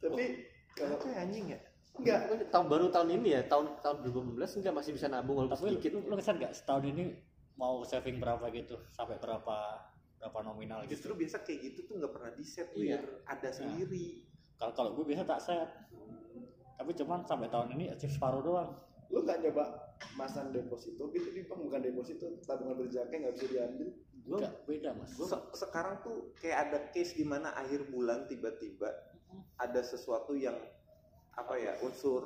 S4: tapi kalau
S3: kayak anjing ya
S4: nggak
S7: tahun baru tahun ini ya tahun tahun 2018 enggak masih bisa nabung walaupun
S5: tapi
S7: sedikit
S5: lu, lu kesan nggak setahun ini mau saving berapa gitu sampai berapa berapa nominal
S3: justru
S5: gitu
S3: biasa kayak gitu tuh nggak pernah di set
S5: Iya.
S3: ada sendiri
S5: kalau kalau gue biasa tak set tapi cuman sampai tahun ini achieve separuh doang
S4: lu nggak nyoba masang deposito gitu di bank bukan deposito tabungan berjangka nggak bisa diambil
S5: gue beda mas
S3: Se- sekarang tuh kayak ada case di mana akhir bulan tiba-tiba ada sesuatu yang apa ya unsur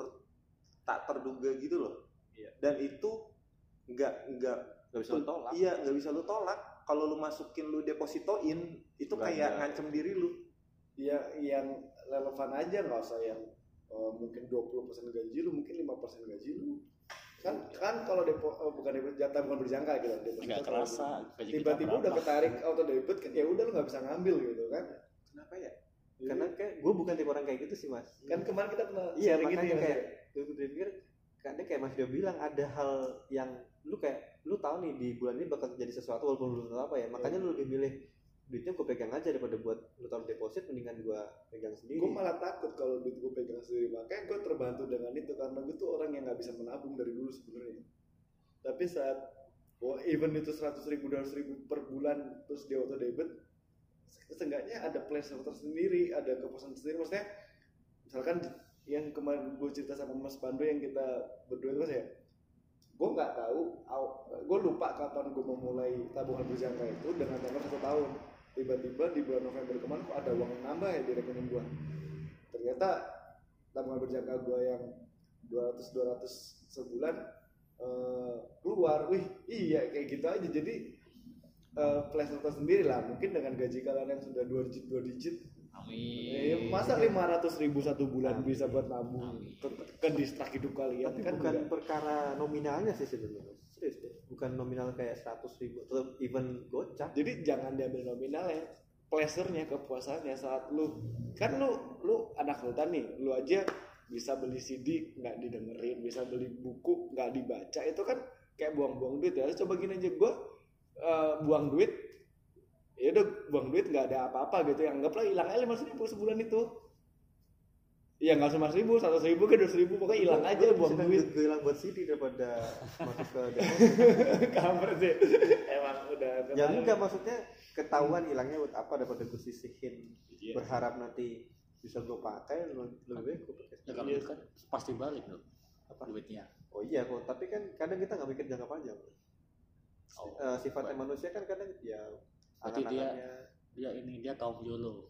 S3: tak terduga gitu loh
S7: Iya.
S3: dan itu nggak nggak
S7: nggak bisa lu tolak
S3: iya nggak bisa lu tolak kalau lu masukin lu depositoin itu
S7: Nggak
S3: kayak
S7: ada.
S3: ngancem diri lu
S4: ya yang relevan aja nggak usah yang eh, mungkin 20% gaji lu mungkin 5% gaji lu kan kan kalau depo eh, bukan depo jatah bukan berjangka gitu deposito
S5: nggak
S4: kalau
S5: kerasa gaji kita
S4: tiba-tiba udah
S5: berapa.
S4: ketarik auto debit kan ya udah lu nggak bisa ngambil gitu kan
S3: kenapa ya
S4: Jadi,
S7: karena kayak gue bukan tipe orang kayak gitu sih mas
S4: kan kemarin kita pernah
S7: iya
S4: sharing
S7: makanya
S4: ya, Mas,
S7: kayak
S4: ya?
S7: gue pikir karena kayak mas Dio bilang ada hal yang lu kayak lu tahu nih di bulan ini bakal terjadi sesuatu walaupun lu belum tahu
S4: Iya.
S7: apa ya makanya lu lebih milih duitnya gue pegang aja daripada buat lu taruh deposit mendingan gue pegang sendiri
S4: gue malah takut kalau duit gue pegang sendiri makanya gue terbantu dengan itu karena gue tuh orang yang nggak bisa menabung dari dulu sebenarnya tapi saat oh, even itu seratus ribu dua ribu per bulan terus dia auto debit se- seenggaknya ada pleasure tersendiri ada kepuasan tersendiri maksudnya misalkan yang kemarin gue cerita sama Mas Pandu yang kita berdua itu Mas ya gue nggak tahu gue lupa kapan gue memulai tabungan berjangka itu dengan tanggal satu tahun tiba-tiba di bulan November kemarin kok ada uang nambah ya di rekening gue ternyata tabungan berjangka gue yang 200 200 sebulan eh, keluar wih iya kayak gitu aja jadi eh pleasure tersendiri lah mungkin dengan gaji kalian yang sudah dua digit dua digit eh,
S5: amin
S4: masa 500 ribu satu bulan
S7: Amin.
S4: bisa buat nabung ke, ke distrak hidup kalian
S7: tapi
S4: kan
S7: bukan
S4: enggak.
S7: perkara nominalnya sih sebenarnya Mas. serius deh bukan nominal kayak seratus ribu atau even gocap
S4: jadi jangan diambil nominalnya pleasure-nya kepuasannya saat lu kan lu lu anak hutan nih lu aja bisa beli CD nggak didengerin bisa beli buku nggak dibaca itu kan kayak buang-buang duit ya coba gini aja gue buang duit ya udah buang duit nggak ada apa-apa gitu yang anggaplah hilang aja lima ribu sebulan itu ya nggak cuma ribu seratus ribu ke dua ribu pokoknya hilang
S7: Gua-
S4: aja
S7: gua
S4: buang
S7: lebih
S4: duit
S7: senang duit hilang buat CD daripada masuk ke deposit
S4: kamar sih emang udah
S7: ya
S4: kenal.
S7: enggak maksudnya ketahuan hilangnya buat apa daripada gue sisihin
S4: Iya.
S7: berharap nanti bisa gue pakai lu- lebih baik gue pakai
S5: ya
S4: Iya,
S5: kalau
S7: sendiri.
S5: itu kan pasti balik loh
S7: Apa?
S5: duitnya
S7: oh iya kok tapi kan kadang kita nggak mikir jangka panjang
S5: oh
S7: Eh, sifatnya manusia kan kadang ya
S5: Berarti dia-
S7: angan-angannya
S5: dia ini dia kaum YOLO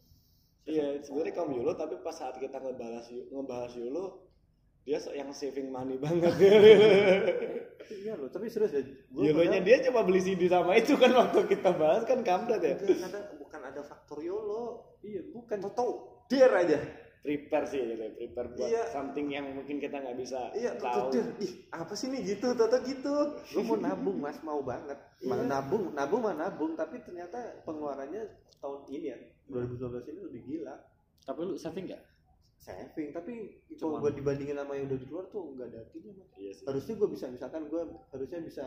S4: Iya, sebenarnya kamu YOLO tapi pas saat kita ngebahas ngebahas YOLO dia so- yang saving money banget.
S7: tapi iya loh tapi serius ya gua
S5: Iya,
S4: YOLO-nya
S7: padahal-
S4: dia coba beli CD sama itu kan waktu kita bahas kan kampret ya.
S3: kadang bukan ada faktor yolo
S7: iya bukan
S3: tau dia aja
S4: Prepare
S5: ya,
S4: sih gitu, prepare buat
S3: Iya.
S4: something yang mungkin kita nggak bisa
S3: iya
S4: tahu.
S3: tuh ih apa sih nih gitu tata gitu
S7: lu mau nabung mas mau banget Ma- nabung nabung mah nabung tapi ternyata pengeluarannya tahun ini ya 2012 ini lebih gila
S5: tapi lu saving nggak
S7: saving tapi
S5: Cuman-
S7: kalau gue dibandingin sama yang udah di luar tuh nggak ada artinya mas
S4: Iya sih.
S7: harusnya gue bisa misalkan gue harusnya bisa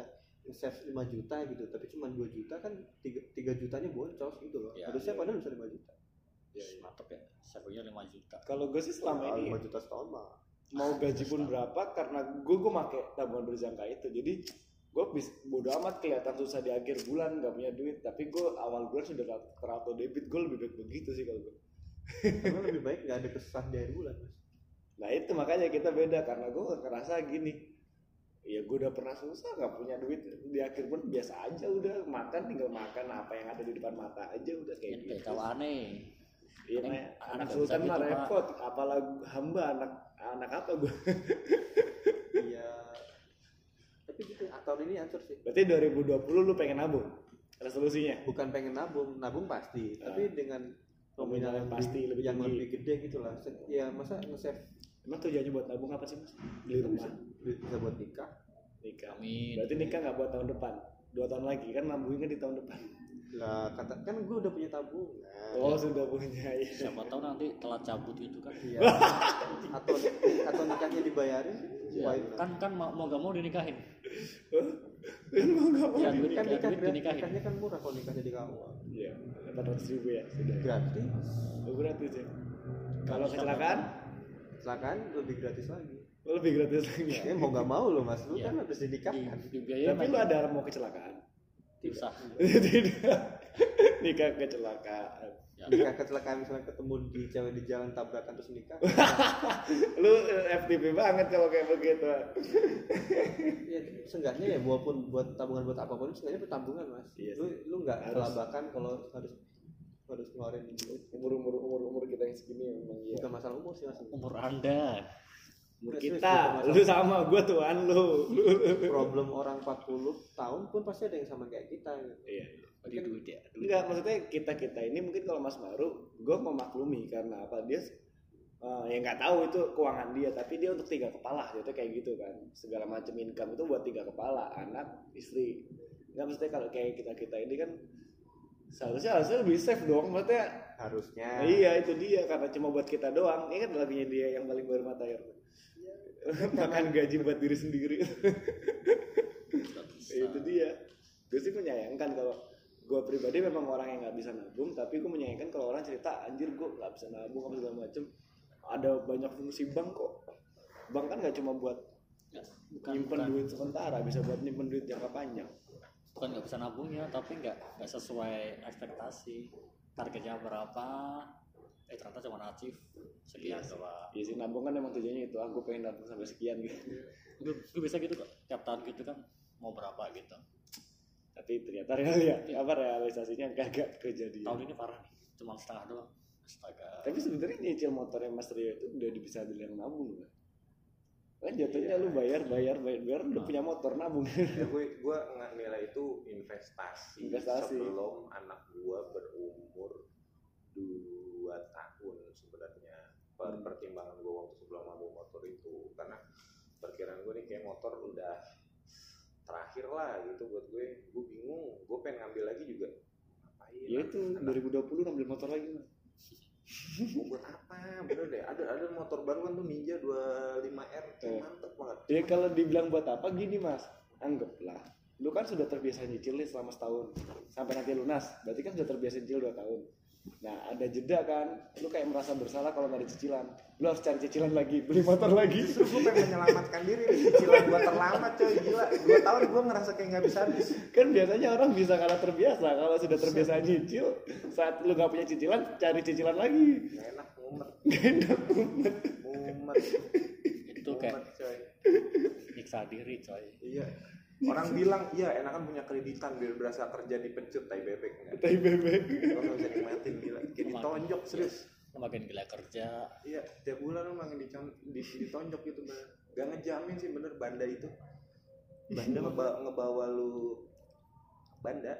S7: save 5 juta gitu tapi cuma 2 juta kan 3, jutanya boncos gitu loh
S5: Iya,
S7: harusnya
S5: iya.
S7: padahal bisa 5 juta
S5: mantep ya savingnya 5 juta
S4: Kalau gue sih selama ini
S7: 5 juta setahun mah
S4: mau gaji pun berapa karena gue gue make tabungan berjangka itu jadi gue bis bodo amat kelihatan susah di akhir bulan gak punya duit tapi gue awal bulan sudah ter- terauto debit gue lebih baik begitu sih kalau gue
S7: Karena lebih baik nggak ada kesusahan di akhir bulan mas
S4: Nah itu makanya kita beda karena gue ngerasa gini ya gue udah pernah susah nggak punya duit di akhir pun biasa aja udah makan tinggal makan apa yang ada di depan mata aja udah kayak
S5: ini
S4: gitu
S5: kayak kalau aneh
S4: Iya,
S5: Neng,
S4: Mak. anak
S5: nggak
S4: sultan
S5: bisa
S4: mah
S5: gitu, Pak.
S4: repot apalagi hamba anak anak apa gue
S7: iya tapi gitu ah, tahun ini hancur sih
S4: berarti 2020 lu pengen nabung resolusinya
S7: bukan pengen nabung nabung pasti
S4: Ah.
S7: tapi dengan
S4: Nominal
S7: nominal yang
S4: pasti lebih
S7: yang
S4: tinggi.
S7: lebih gede gitu lah Se- ya masa nge-save
S4: emang tujuannya buat nabung apa sih Gitu, mas beli rumah
S7: duit bisa buat nikah
S4: nikah
S5: Amin.
S4: berarti nikah nggak buat tahun depan dua tahun lagi kan nabungnya di tahun depan
S7: lah kata kan gue udah punya tabungan
S4: oh sudah punya ya.
S5: Nah, iya. siapa tahu nanti telat cabut gitu kan
S7: Iya. atau
S4: Iya,
S5: Iya.
S7: atau nikahnya dibayarin, why not?
S5: kan kan mau, mau gak mau dinikahin
S4: Emang nggak mau
S5: Ya,
S4: di-
S5: duit
S7: kan nikah
S5: duit
S7: gratis,
S5: dinikahin.
S7: nikahnya kan murah kalau nikah jadi kawal
S4: Iya, 400 ribu ya sudah.
S7: gratis
S4: Oh, gratis ya. Kalau kecelakaan
S7: silakan kan, lebih gratis lagi
S4: lebih gratis lagi.
S7: ya mau nggak mau lo mas lu
S5: Iya.
S7: kan harus dinikahkan
S5: Di- dibiayain
S4: Tapi lu
S5: lagi.
S4: ada mau kecelakaan?
S5: susah
S4: Tidak. Nikah kecelakaan.
S7: nikah kecelakaan misalnya ketemu di cewek di jalan tabrakan terus nikah
S4: Lu eh, FTP banget kalau kayak begitu.
S7: ya seenggaknya ya walaupun buat tabungan buat apapun seenggaknya buat tabungan mas
S4: Iya
S7: lu lu nggak
S4: Harus. Iya.
S7: kelabakan kalau harus harus ngeluarin duit
S4: Umur umur umur umur kita yang segini emang iya.
S7: bukan masalah umur sih mas
S5: umur anda
S4: Umur
S7: Terus,
S4: kita, lu
S7: terus,
S4: sama gua tuan lu.
S7: problem orang 40 tahun pun pasti ada yang sama kayak kita gitu.
S4: Iya.
S5: di duit ya duit.
S4: Enggak, maksudnya kita-kita ini mungkin kalau Mas Maru, gua memaklumi karena apa dia eh, yang nggak tahu itu keuangan dia, tapi dia untuk tiga kepala, jadi kayak gitu kan. Segala macam income itu buat tiga kepala, anak, istri. Enggak maksudnya kalau kayak kita-kita ini kan seharusnya harusnya lebih safe dong, maksudnya Nah,
S7: harusnya
S4: iya itu dia karena cuma buat kita doang. Ini kan lagunya dia yang paling bermata air.
S5: Iya.
S4: Makan gaji buat diri sendiri. itu dia. Gue sih menyayangkan kalau gue pribadi memang orang yang nggak bisa nabung, tapi gue menyayangkan kalau orang cerita anjir gue nggak bisa nabung apa segala macem. Ada banyak fungsi bank kok. Bank kan nggak cuma buat
S5: Ya, bukan
S4: nyimpen
S5: bukan-
S4: duit sementara, bisa buat nyimpen duit jangka panjang.
S5: bukan nggak bisa nabungnya tapi nggak nggak sesuai ekspektasi targetnya berapa eh ternyata cuma achieve sekian doang
S4: Iya sih nabung kan emang tujuannya itu, aku pengen nabung sampai sekian gitu.
S5: gue gue bisa gitu kok tiap tahun gitu kan mau berapa gitu
S4: tapi ternyata real ya apa realisasinya kagak kejadian
S5: tahun ini parah nih cuma setengah doang astaga
S4: tapi sebenarnya nyicil motornya Mas Rio itu udah bisa dibilang nabung kan kan jatuhnya lu bayar bayar bayar bayar
S5: Ah.
S4: udah punya motor nabung
S6: ya gue gue nggak nilai itu investasi,
S4: Investasi.
S6: sebelum anak gue berumur dua tahun sebenarnya per
S4: Hmm.
S6: pertimbangan gue waktu sebelum mau motor itu karena perkiraan gue nih kayak motor udah terakhir lah gitu buat gue gue bingung gue pengen ngambil lagi juga ngapain
S4: ya itu 2020 ngambil motor lagi Mas.
S6: Gua buat apa bener deh ada ada motor baru kan tuh Ninja 25R tuh
S4: Eh.
S6: mantep banget
S4: ya kalau dibilang buat apa gini Mas anggaplah lu kan sudah terbiasa nyicil nih selama setahun sampai nanti lunas berarti kan sudah terbiasa nyicil dua tahun nah ada jeda kan lu kayak merasa bersalah kalau nggak ada cicilan lu harus cari cicilan lagi beli motor lagi
S6: gue pengen menyelamatkan diri cicilan gue terlambat coy gila dua tahun gue ngerasa kayak nggak bisa habis
S4: kan biasanya orang bisa kalah terbiasa kalau sudah terbiasa nyicil saat lu nggak punya cicilan cari cicilan lagi
S6: Gak enak ngumet
S4: gak enak banget
S6: mumet
S5: itu kayak
S6: mumet coy
S5: nyiksa diri coy
S6: iya orang bilang iya enakan punya kreditan biar berasa kerja di pencut tai bebek enggak
S4: tai bebek Iya.
S6: lo nggak bisa nikmatin gila kayak ditonjok serius
S5: makin gila kerja
S6: iya tiap bulan lo makin dicon- di- ditonjok gitu bener gak ngejamin sih bener banda itu banda ngebawa, ngebawa lu banda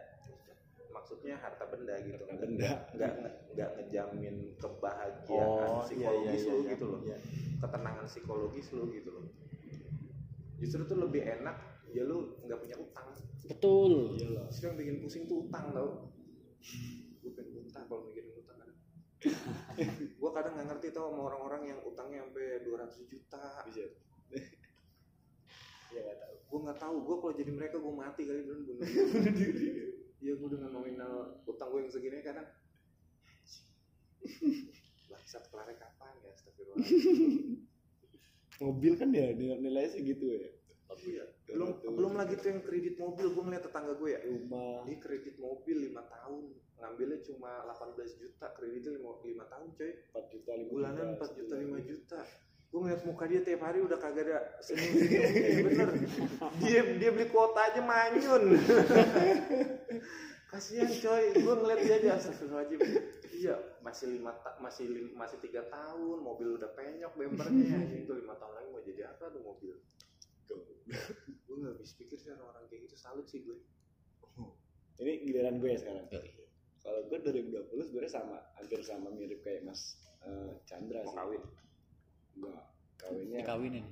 S6: maksudnya harta benda gitu
S4: Harta benda. Oh,
S6: nggak nge- nggak ngejamin kebahagiaan
S4: iya,
S6: psikologis lu gitu loh ketenangan psikologis lu gitu loh justru tuh lebih enak ya lu nggak punya utang
S5: betul
S6: justru yang bikin pusing tuh utang tau gue pengen muntah kalau mikirin utang kadang gue kadang nggak ngerti tau sama orang-orang yang utangnya sampai 200 juta
S4: Bisa.
S6: ya nggak tahu gue nggak tahu gue kalau jadi mereka gue mati kali beneran bunuh diri iya gue dengan nominal utang gue yang segini kadang bisa kelar kapan ya astagfirullah
S4: mobil kan ya nilai- nilainya segitu ya
S6: Iya. belum belum lagi tuh yang kredit mobil gue ngeliat tetangga gue ya
S4: rumah
S6: dia kredit mobil 5 tahun ngambilnya cuma 18 juta kreditnya 5, tahun coy
S4: 4 juta 5
S6: bulanan 4 juta 5 juta gue ngeliat muka dia tiap hari udah kagak ada senyum senyum bener dia dia beli kuota aja manyun kasihan coy gue ngeliat dia aja astagfirullahaladzim iya masih lima ta- masih lim- masih tiga tahun mobil udah penyok bempernya itu lima tahun lagi mau jadi apa tuh mobil gue nggak habis pikir sih orang-orang kayak gitu salut sih gue
S4: ini giliran gue ya sekarang kalau gue 2020 sebenarnya sama hampir sama mirip kayak Mas eh, Chandra sih
S6: kawin
S4: enggak kawinnya
S5: dikawinin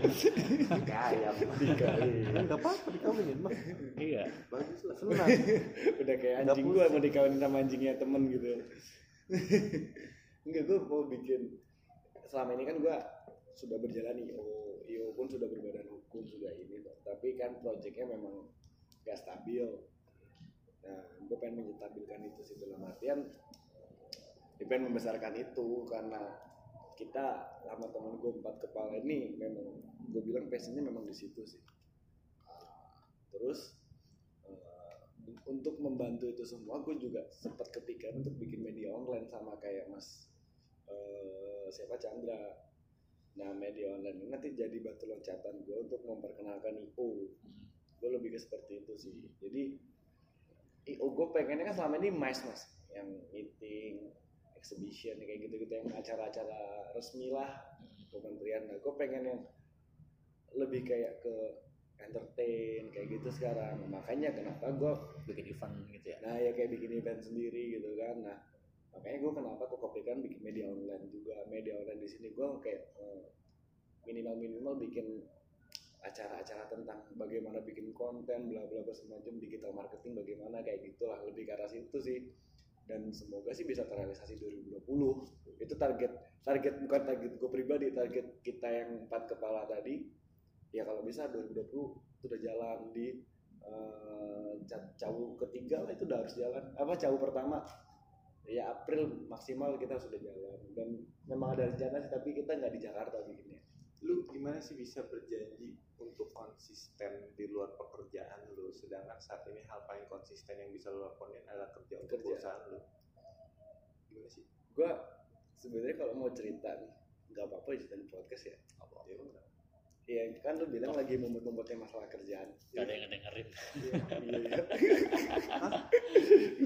S6: kaya
S7: nggak apa-apa dikawinin mah
S5: iya
S6: bagus lah
S7: senang
S4: udah kayak anjing gue mau dikawinin sama anjingnya temen gitu enggak gue mau bikin selama ini kan gue sudah berjalan IO IO pun sudah berbadan hukum sudah tapi kan projectnya memang gak stabil nah gue pengen menyetabilkan itu sih dalam artian gue pengen membesarkan itu karena kita sama temen gue empat kepala ini memang gue bilang passionnya memang di situ sih Ah, terus eh, untuk membantu itu semua gue juga sempat kepikiran untuk bikin media online sama kayak mas eh, siapa Chandra nah media online ini nanti jadi batu loncatan gue untuk memperkenalkan IO gue lebih ke seperti itu sih jadi IO gue pengennya kan selama ini mas mas yang meeting exhibition kayak gitu gitu yang acara-acara resmi lah kementerian nah gue pengen yang lebih kayak ke entertain kayak gitu sekarang makanya kenapa gue
S5: bikin event gitu ya
S4: nah ya kayak bikin event sendiri gitu kan nah makanya gue kenapa gue kepikiran bikin media online juga media online di sini gue kayak minimal minimal bikin acara-acara tentang bagaimana bikin konten bla bla bla semacam digital marketing bagaimana kayak gitulah lebih ke arah situ sih dan semoga sih bisa terrealisasi 2020 itu target target bukan target gue pribadi target kita yang empat kepala tadi ya kalau bisa 2020 itu udah jalan di eh, ca- cawu ketiga lah itu udah harus jalan apa cawu pertama ya April maksimal kita sudah jalan dan memang ada rencana sih tapi kita nggak di Jakarta bikinnya
S6: lu gimana sih bisa berjanji untuk konsisten di luar pekerjaan lu sedangkan saat ini hal paling konsisten yang bisa lu lakukan adalah kerja untuk
S4: Kerja.
S6: perusahaan lu gimana sih
S4: gue sebenarnya kalau mau cerita nih nggak apa-apa ya cerita di podcast ya
S6: Ya, lu nggak-
S4: ya kan lu bilang lagi membuat-membuatnya masalah kerjaan
S5: gak ada yang ngedengerin
S4: Iya, iya.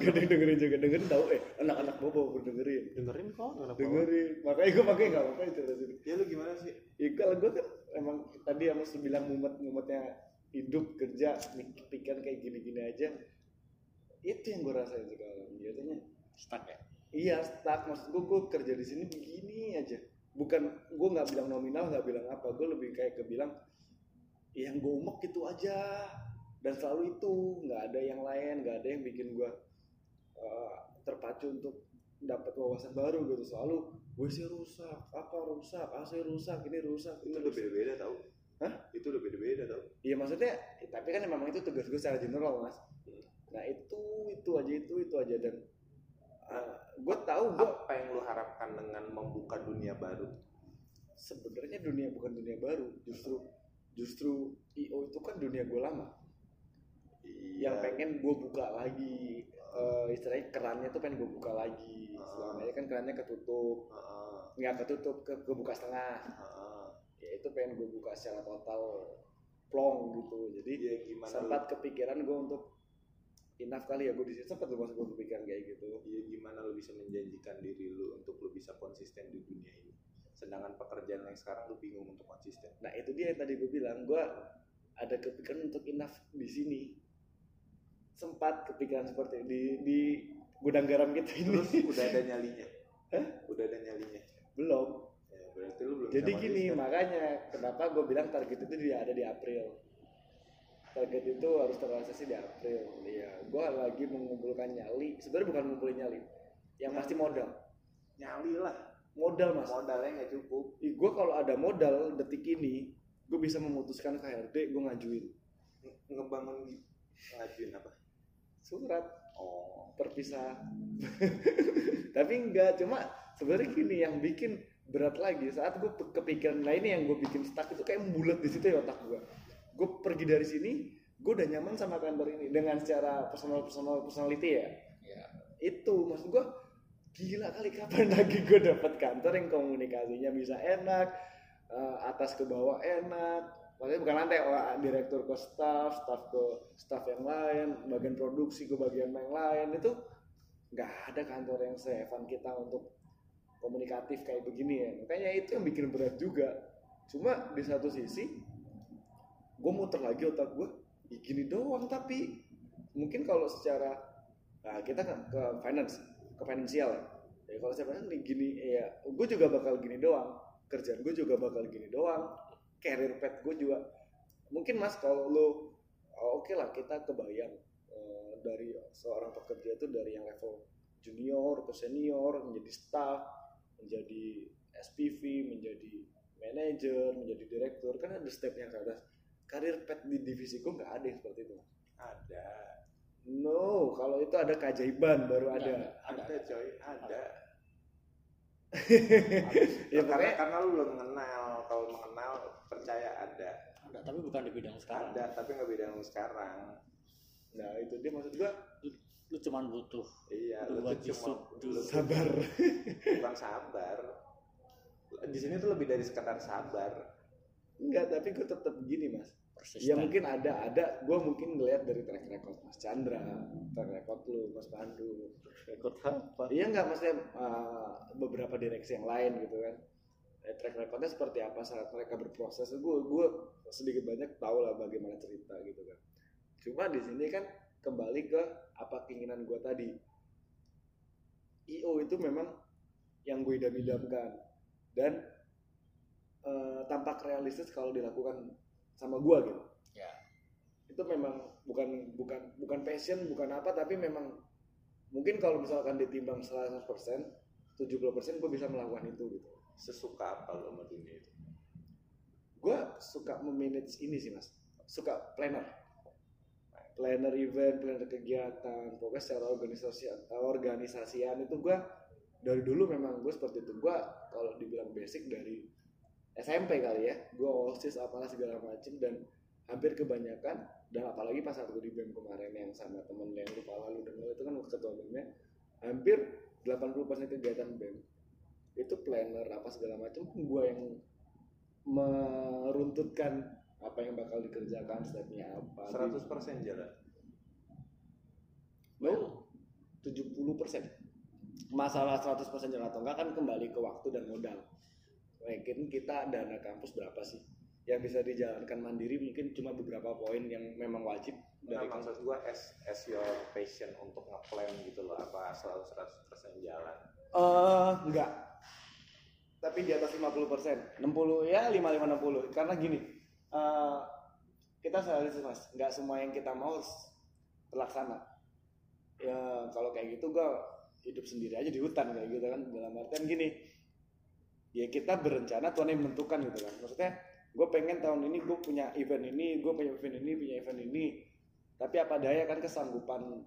S4: Gak ada yang dengerin juga dengerin tau eh anak-anak bobo pun dengerin
S7: dengerin kok nggak apa-apa.
S4: dengerin makanya gue pakai nggak apa-apa cerita sini
S6: ya lu gimana sih
S4: ya kalau gue kan emang tadi yang lu bilang mumet-mumetnya hidup kerja mik- pikiran kayak gini-gini aja itu yang gue rasain sekarang biasanya
S5: stuck ya
S4: iya stuck maksud gue gue kerja di sini begini aja bukan gue nggak bilang nominal nggak bilang apa gue lebih kayak ke bilang yang gue umek gitu aja dan selalu itu nggak ada yang lain nggak ada yang bikin gue eh, terpacu untuk dapat wawasan baru gitu selalu WC rusak apa rusak AC rusak ini rusak
S6: itu
S4: ini
S6: udah
S4: rusak
S6: beda beda tau
S4: Hah?
S6: itu udah beda beda tau
S4: Iya maksudnya, eh, tapi kan memang itu tugas gue secara general mas.
S6: Hmm.
S4: Nah itu itu aja itu itu aja dan gue tahu gue
S6: apa yang lu harapkan dengan membuka dunia baru
S4: sebenarnya dunia bukan dunia baru, justru justru IO itu kan dunia gue lama. Yang
S6: Iya.
S4: pengen gue buka lagi, eh, istilahnya kerannya tuh pengen gue buka lagi. Selama ini kan kerannya ketutup,
S6: Heeh,
S4: nggak ketutup, ke, kebuka setengah.
S6: heeh.
S4: ya itu pengen gue buka secara total plong gitu jadi
S6: Ya, gimana
S4: sempat kepikiran gue untuk enough kali ya gue di sini sempat gue masuk gue kepikiran kayak
S6: ya
S4: gitu
S6: gimana lu bisa menjanjikan diri lu untuk lu bisa konsisten di dunia ini sedangkan pekerjaan yang sekarang lu bingung untuk konsisten
S4: nah itu dia yang tadi gue bilang gue ada kepikiran untuk enough di sini sempat kepikiran seperti di di gudang garam kita
S6: terus
S4: ini
S6: udah ada nyalinya
S4: Hah?
S6: udah ada nyalinya
S4: belum
S6: ya, berarti lu belum
S4: jadi
S6: bisa
S4: gini
S6: konsisten.
S4: makanya kenapa gue bilang target itu dia ada di April target itu harus terrealisasi di April ya gue lagi mengumpulkan nyali sebenarnya bukan ngumpulin nyali yang pasti modal
S6: nyali lah
S4: modal mas
S6: modalnya nggak cukup
S4: gue kalau ada modal detik ini gue bisa memutuskan KRD gue ngajuin
S6: Nge- ngebangun di- ngajuin apa
S4: surat
S6: oh
S4: terpisah tapi enggak cuma sebenarnya gini yang bikin berat lagi saat gue kepikiran nah ini yang gue bikin stuck itu kayak membulat di situ ya otak gue gue pergi dari sini gue udah nyaman sama kantor ini dengan secara personal personal personality ya
S5: ya
S4: itu maksud gue gila kali kapan lagi gue dapat kantor yang komunikasinya bisa enak eh, atas ke bawah enak maksudnya bukan lantai oh, direktur ke staff staff ke staff yang lain bagian produksi ke bagian yang lain itu nggak ada kantor yang sehevan kita untuk komunikatif kayak begini ya makanya itu yang bikin berat juga cuma di satu sisi gue muter lagi otak gue "Ih, gini doang tapi mungkin kalau secara nah, kita kan ke finance ke finansial ya Jadi kalau saya bilang nih gini ya gue juga bakal gini doang kerjaan gue juga bakal gini doang career path gue juga mungkin mas kalau lo oh, oke lah kita kebayang eh, dari seorang pekerja itu dari yang level junior ke senior menjadi staff menjadi SPV menjadi manager menjadi direktur kan ada stepnya ke atas
S5: karir pet di divisiku nggak ada yang seperti itu
S6: ada
S5: no Oh, kalau itu ada keajaiban baru ada
S8: Nggak,
S6: ada,
S8: nggak, ada.
S6: coy ada
S5: ya
S6: ya, karena,
S5: makanya
S6: karena lu belum mengenal kalau mengenal percaya ada
S8: Ada, tapi bukan di bidang sekarang
S6: ada tapi nggak beda sama sekarang
S5: nah itu dia maksud gua
S8: lu cuman butuh
S6: iya lu
S8: dua
S6: tuh cuma
S8: jisuk dulu
S5: sabar
S6: kurang sabar di sini tuh lebih dari sekedar sabar
S5: enggak tapi gua tetap gini mas
S8: persisten
S5: Ya mungkin ada, ada. Gue mungkin ngelihat dari track record Mas Chandra, track record lu, Mas Pandu.
S7: Record apa?
S5: Iya nggak maksudnya eh, beberapa direksi yang lain gitu kan. Eh, track recordnya seperti apa saat mereka berproses. Gue gue sedikit banyak tahu lah bagaimana cerita gitu kan. Cuma di sini kan kembali ke apa keinginan gue tadi. IO itu memang yang gue idam-idamkan dan eh, tampak realistis kalau dilakukan sama gue gitu
S8: ya
S5: itu memang bukan bukan bukan passion bukan apa tapi memang mungkin kalau misalkan ditimbang 100% 70% gue bisa melakukan itu gitu
S6: sesuka apa lu sama dunia itu
S5: gue suka memanage ini sih mas suka planner planner event planner kegiatan pokoknya secara organisasi organisasian itu gue dari dulu memang gue seperti itu gue kalau dibilang basic dari SMP kali ya gue osis apalah segala macem dan hampir kebanyakan dan apalagi pas saat gue di BEM kemarin yang sama temen yang lupa lalu dengar itu kan ketua BEM-nya hampir 80% kegiatan BEM itu planner apa segala macam gue yang meruntutkan apa yang bakal dikerjakan stepnya apa gitu.
S6: 100% jalan
S5: lo 70 persen masalah 100 persen jalan atau enggak kan kembali ke waktu dan modal mungkin kita dana kampus berapa sih yang bisa dijalankan mandiri mungkin cuma beberapa poin yang memang wajib
S6: Nah,
S5: dari
S6: maksud
S5: kampus
S6: gua as, as your passion untuk ngeplan gitu loh apa selalu 100% jalan
S5: eh enggak tapi di atas 50 persen 60 ya 55 60 karena gini eh kita realistis mas nggak semua yang kita mau harus terlaksana ya kalau kayak gitu gue hidup sendiri aja di hutan kayak gitu kan dalam artian gini ya kita berencana Tuhan yang menentukan gitu kan maksudnya gue pengen tahun ini gue punya event ini gue punya event ini punya event ini tapi apa daya kan kesanggupan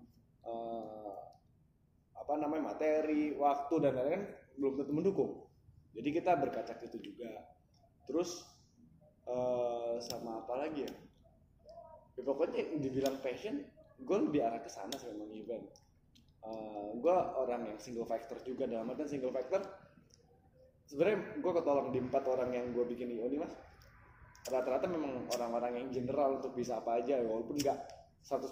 S5: eh, apa namanya materi waktu dan lain-lain kan belum tentu mendukung jadi kita berkaca ke itu juga terus eh, sama apa lagi ya ya pokoknya dibilang passion gue lebih arah ke sana sih memang event gue orang yang single factor juga dalam artian single factor sebenarnya gue ketolong di empat orang yang gue bikin IO nih mas rata-rata memang orang-orang yang general untuk bisa apa aja ya, walaupun nggak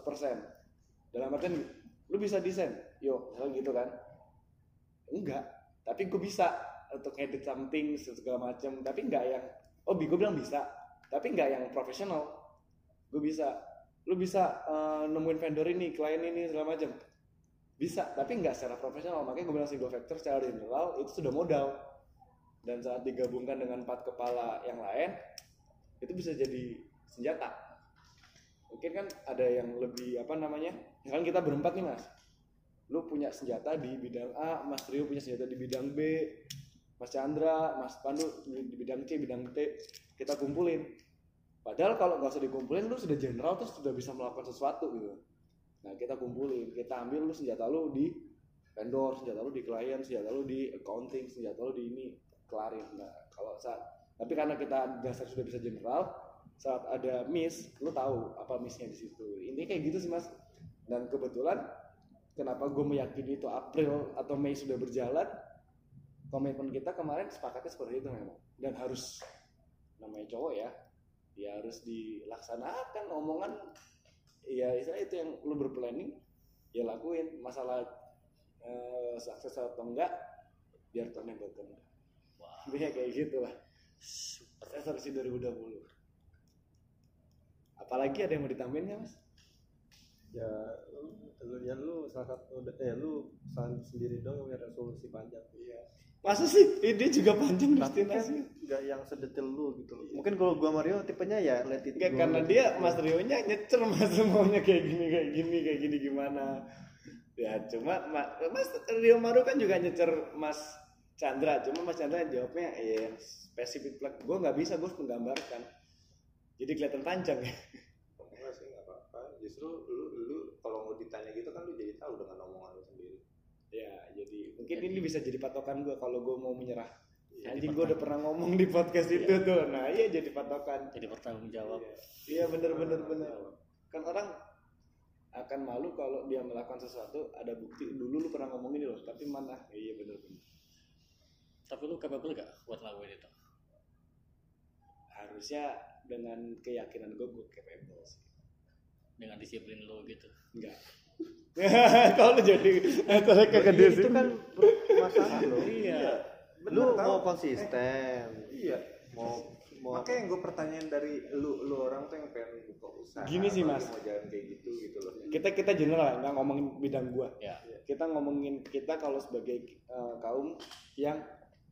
S5: 100% dalam artian lu bisa desain yo misalnya gitu kan enggak tapi gue bisa untuk edit something segala macam tapi nggak yang oh gue bilang bisa tapi nggak yang profesional gue bisa lu bisa eh, nemuin vendor ini klien ini segala macam bisa tapi nggak secara profesional makanya gue bilang single factor secara general itu sudah modal dan saat digabungkan dengan empat kepala yang lain itu bisa jadi senjata mungkin kan ada yang lebih apa namanya misalkan kita berempat nih mas lu punya senjata di bidang A mas Rio punya senjata di bidang B mas Chandra mas Pandu di di bidang C bidang T kita kumpulin padahal kalau nggak usah dikumpulin lu sudah general terus sudah bisa melakukan sesuatu gitu nah kita kumpulin kita ambil lu senjata lu di vendor senjata lu di klien senjata lu di accounting senjata lu di ini kelarin nah kalau saat tapi karena kita dasar sudah bisa general saat ada miss lu tahu apa missnya di situ ini kayak gitu sih mas dan kebetulan kenapa gue meyakini itu April atau Mei sudah berjalan komitmen kita kemarin sepakatnya seperti itu memang dan harus namanya cowok ya ya harus dilaksanakan omongan ya istilah itu yang lu berplanning ya lakuin masalah eh, sukses atau enggak biar Tuhan yang buatkan
S8: wah
S4: Iya,
S5: Intinya kayak gitu lah
S8: super
S5: resolusi 2020 apalagi ada yang mau ditambahin nggak mas
S7: Ya, lu- lu, ya lu salah satu, eh lu salah sendiri dong yang punya resolusi panjang. Iya.
S5: masa sih ini juga panjang
S7: Tapi kan
S5: destinasi
S7: nggak yang sedetil lu gitu. loh. Mungkin kalau gua Mario tipenya ya let it
S5: Enggak,
S7: go.
S5: karena
S4: Iya,
S5: dia Mas Rio nya nyecer mas maunya kayak gini kayak gini kayak gini gimana ya cuma Ma- Mas Rio Maru kan juga nyecer Mas Chandra cuma Mas Chandra jawabnya ya spesifik plek gue nggak bisa gue harus menggambarkan
S4: jadi kelihatan panjang ya
S6: enggak sih nggak apa-apa justru lu lu kalau mau ditanya gitu kan lu jadi tahu dengan omongan lu sendiri
S4: ya jadi mungkin ini bisa jadi patokan gue kalau gue mau menyerah
S5: Jadi
S4: anjing gue udah pernah ngomong di podcast itu tuh nah iya jadi patokan
S5: jadi bertanggung jawab
S4: iya bener bener bener kan orang akan malu kalau dia melakukan sesuatu ada bukti dulu lu pernah ngomong ini loh tapi mana iya bener bener
S5: tapi lu capable gak buat ngelakuin itu
S4: harusnya dengan keyakinan gue gue capable sih
S5: dengan disiplin lu gitu
S4: enggak kalau jadi kalau kegedean
S7: itu kan masalah lo
S4: iya
S7: lu mau konsisten
S6: iya
S7: mau mau
S6: makanya yang gue pertanyaan dari lu lu orang tuh yang pengen buka usaha
S4: Gini sih,
S6: apalagi
S4: Mas.
S6: mau jalan kayak gitu gitu loh
S7: Iya.
S4: kita kita general lah nggak ngomongin bidang gua
S5: ya
S4: kita ngomongin kita kalau sebagai eh, kaum yang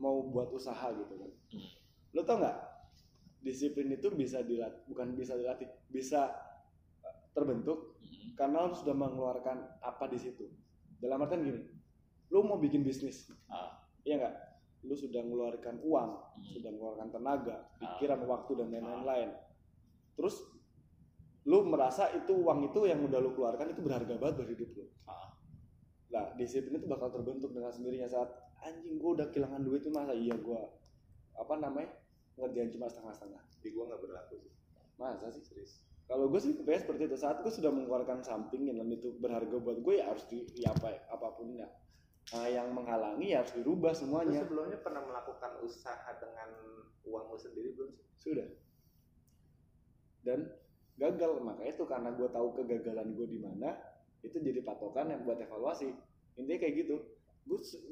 S4: mau buat usaha gitu kan
S5: Hmm.
S4: lo tau nggak disiplin itu bisa dilat bukan bisa dilatih bisa eh, terbentuk
S5: Mhm.
S4: karena lo sudah mengeluarkan apa di situ dalam artian gini lo mau bikin bisnis
S5: Ah.
S4: iya nggak lo sudah mengeluarkan uang
S5: Mhm.
S4: sudah mengeluarkan tenaga
S5: Ah.
S4: pikiran waktu dan lain-lain lain terus lo merasa itu uang itu yang udah lo keluarkan itu berharga banget buat hidup lo
S5: Ah.
S4: Nah, disiplin itu bakal terbentuk dengan sendirinya saat anjing gue udah kehilangan duit tuh masa iya gue apa namanya ngerjain cuma setengah-setengah.
S6: di gue nggak berlaku sih
S4: Masa sih serius? Kalau gue sih kebanyakan seperti itu saat gue sudah mengeluarkan something yang dan itu berharga buat gue ya harus di ya apa apapun ya. Nah, yang menghalangi ya harus dirubah
S6: lu
S4: semuanya.
S6: sebelumnya pernah melakukan usaha dengan uang lu sendiri belum sih
S4: Sudah. Dan gagal makanya itu karena gue tahu kegagalan gue di mana itu jadi patokan yang buat evaluasi intinya kayak gitu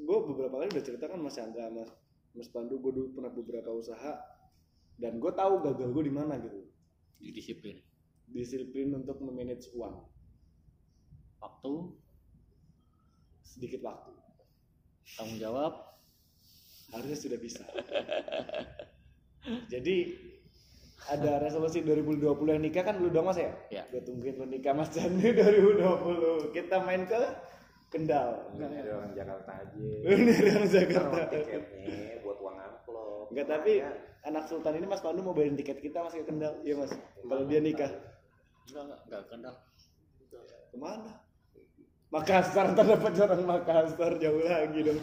S4: gue beberapa kali udah kan ceritakan mas Chandra mas mas Pandu gue dulu pernah beberapa usaha dan gue tahu gagal gue di mana gitu
S5: di disiplin
S4: disiplin untuk memanage uang
S5: waktu
S4: sedikit waktu
S5: tanggung jawab
S4: harusnya sudah bisa jadi ada resolusi 2020 yang nikah kan lu dong mas ya?
S5: Iya.
S4: Gue tungguin lu nikah mas Chandra 2020 Kita main ke Kendal
S6: Ini
S5: Iya.
S6: ada orang Jakarta aja
S4: Ini orang Jakarta.
S6: Taruh tiketnya buat uang amplop
S4: Enggak
S5: Nah,
S4: tapi
S5: iya.
S6: Makanya,
S4: anak Sultan ini Mas Pandu mau bayarin tiket kita Mas ke Kendal. Iya Mas. Kalau dia nikah.
S5: enggak enggak enggak kenal
S4: Kemana? Makassar ntar dapat orang Makassar jauh lagi dong.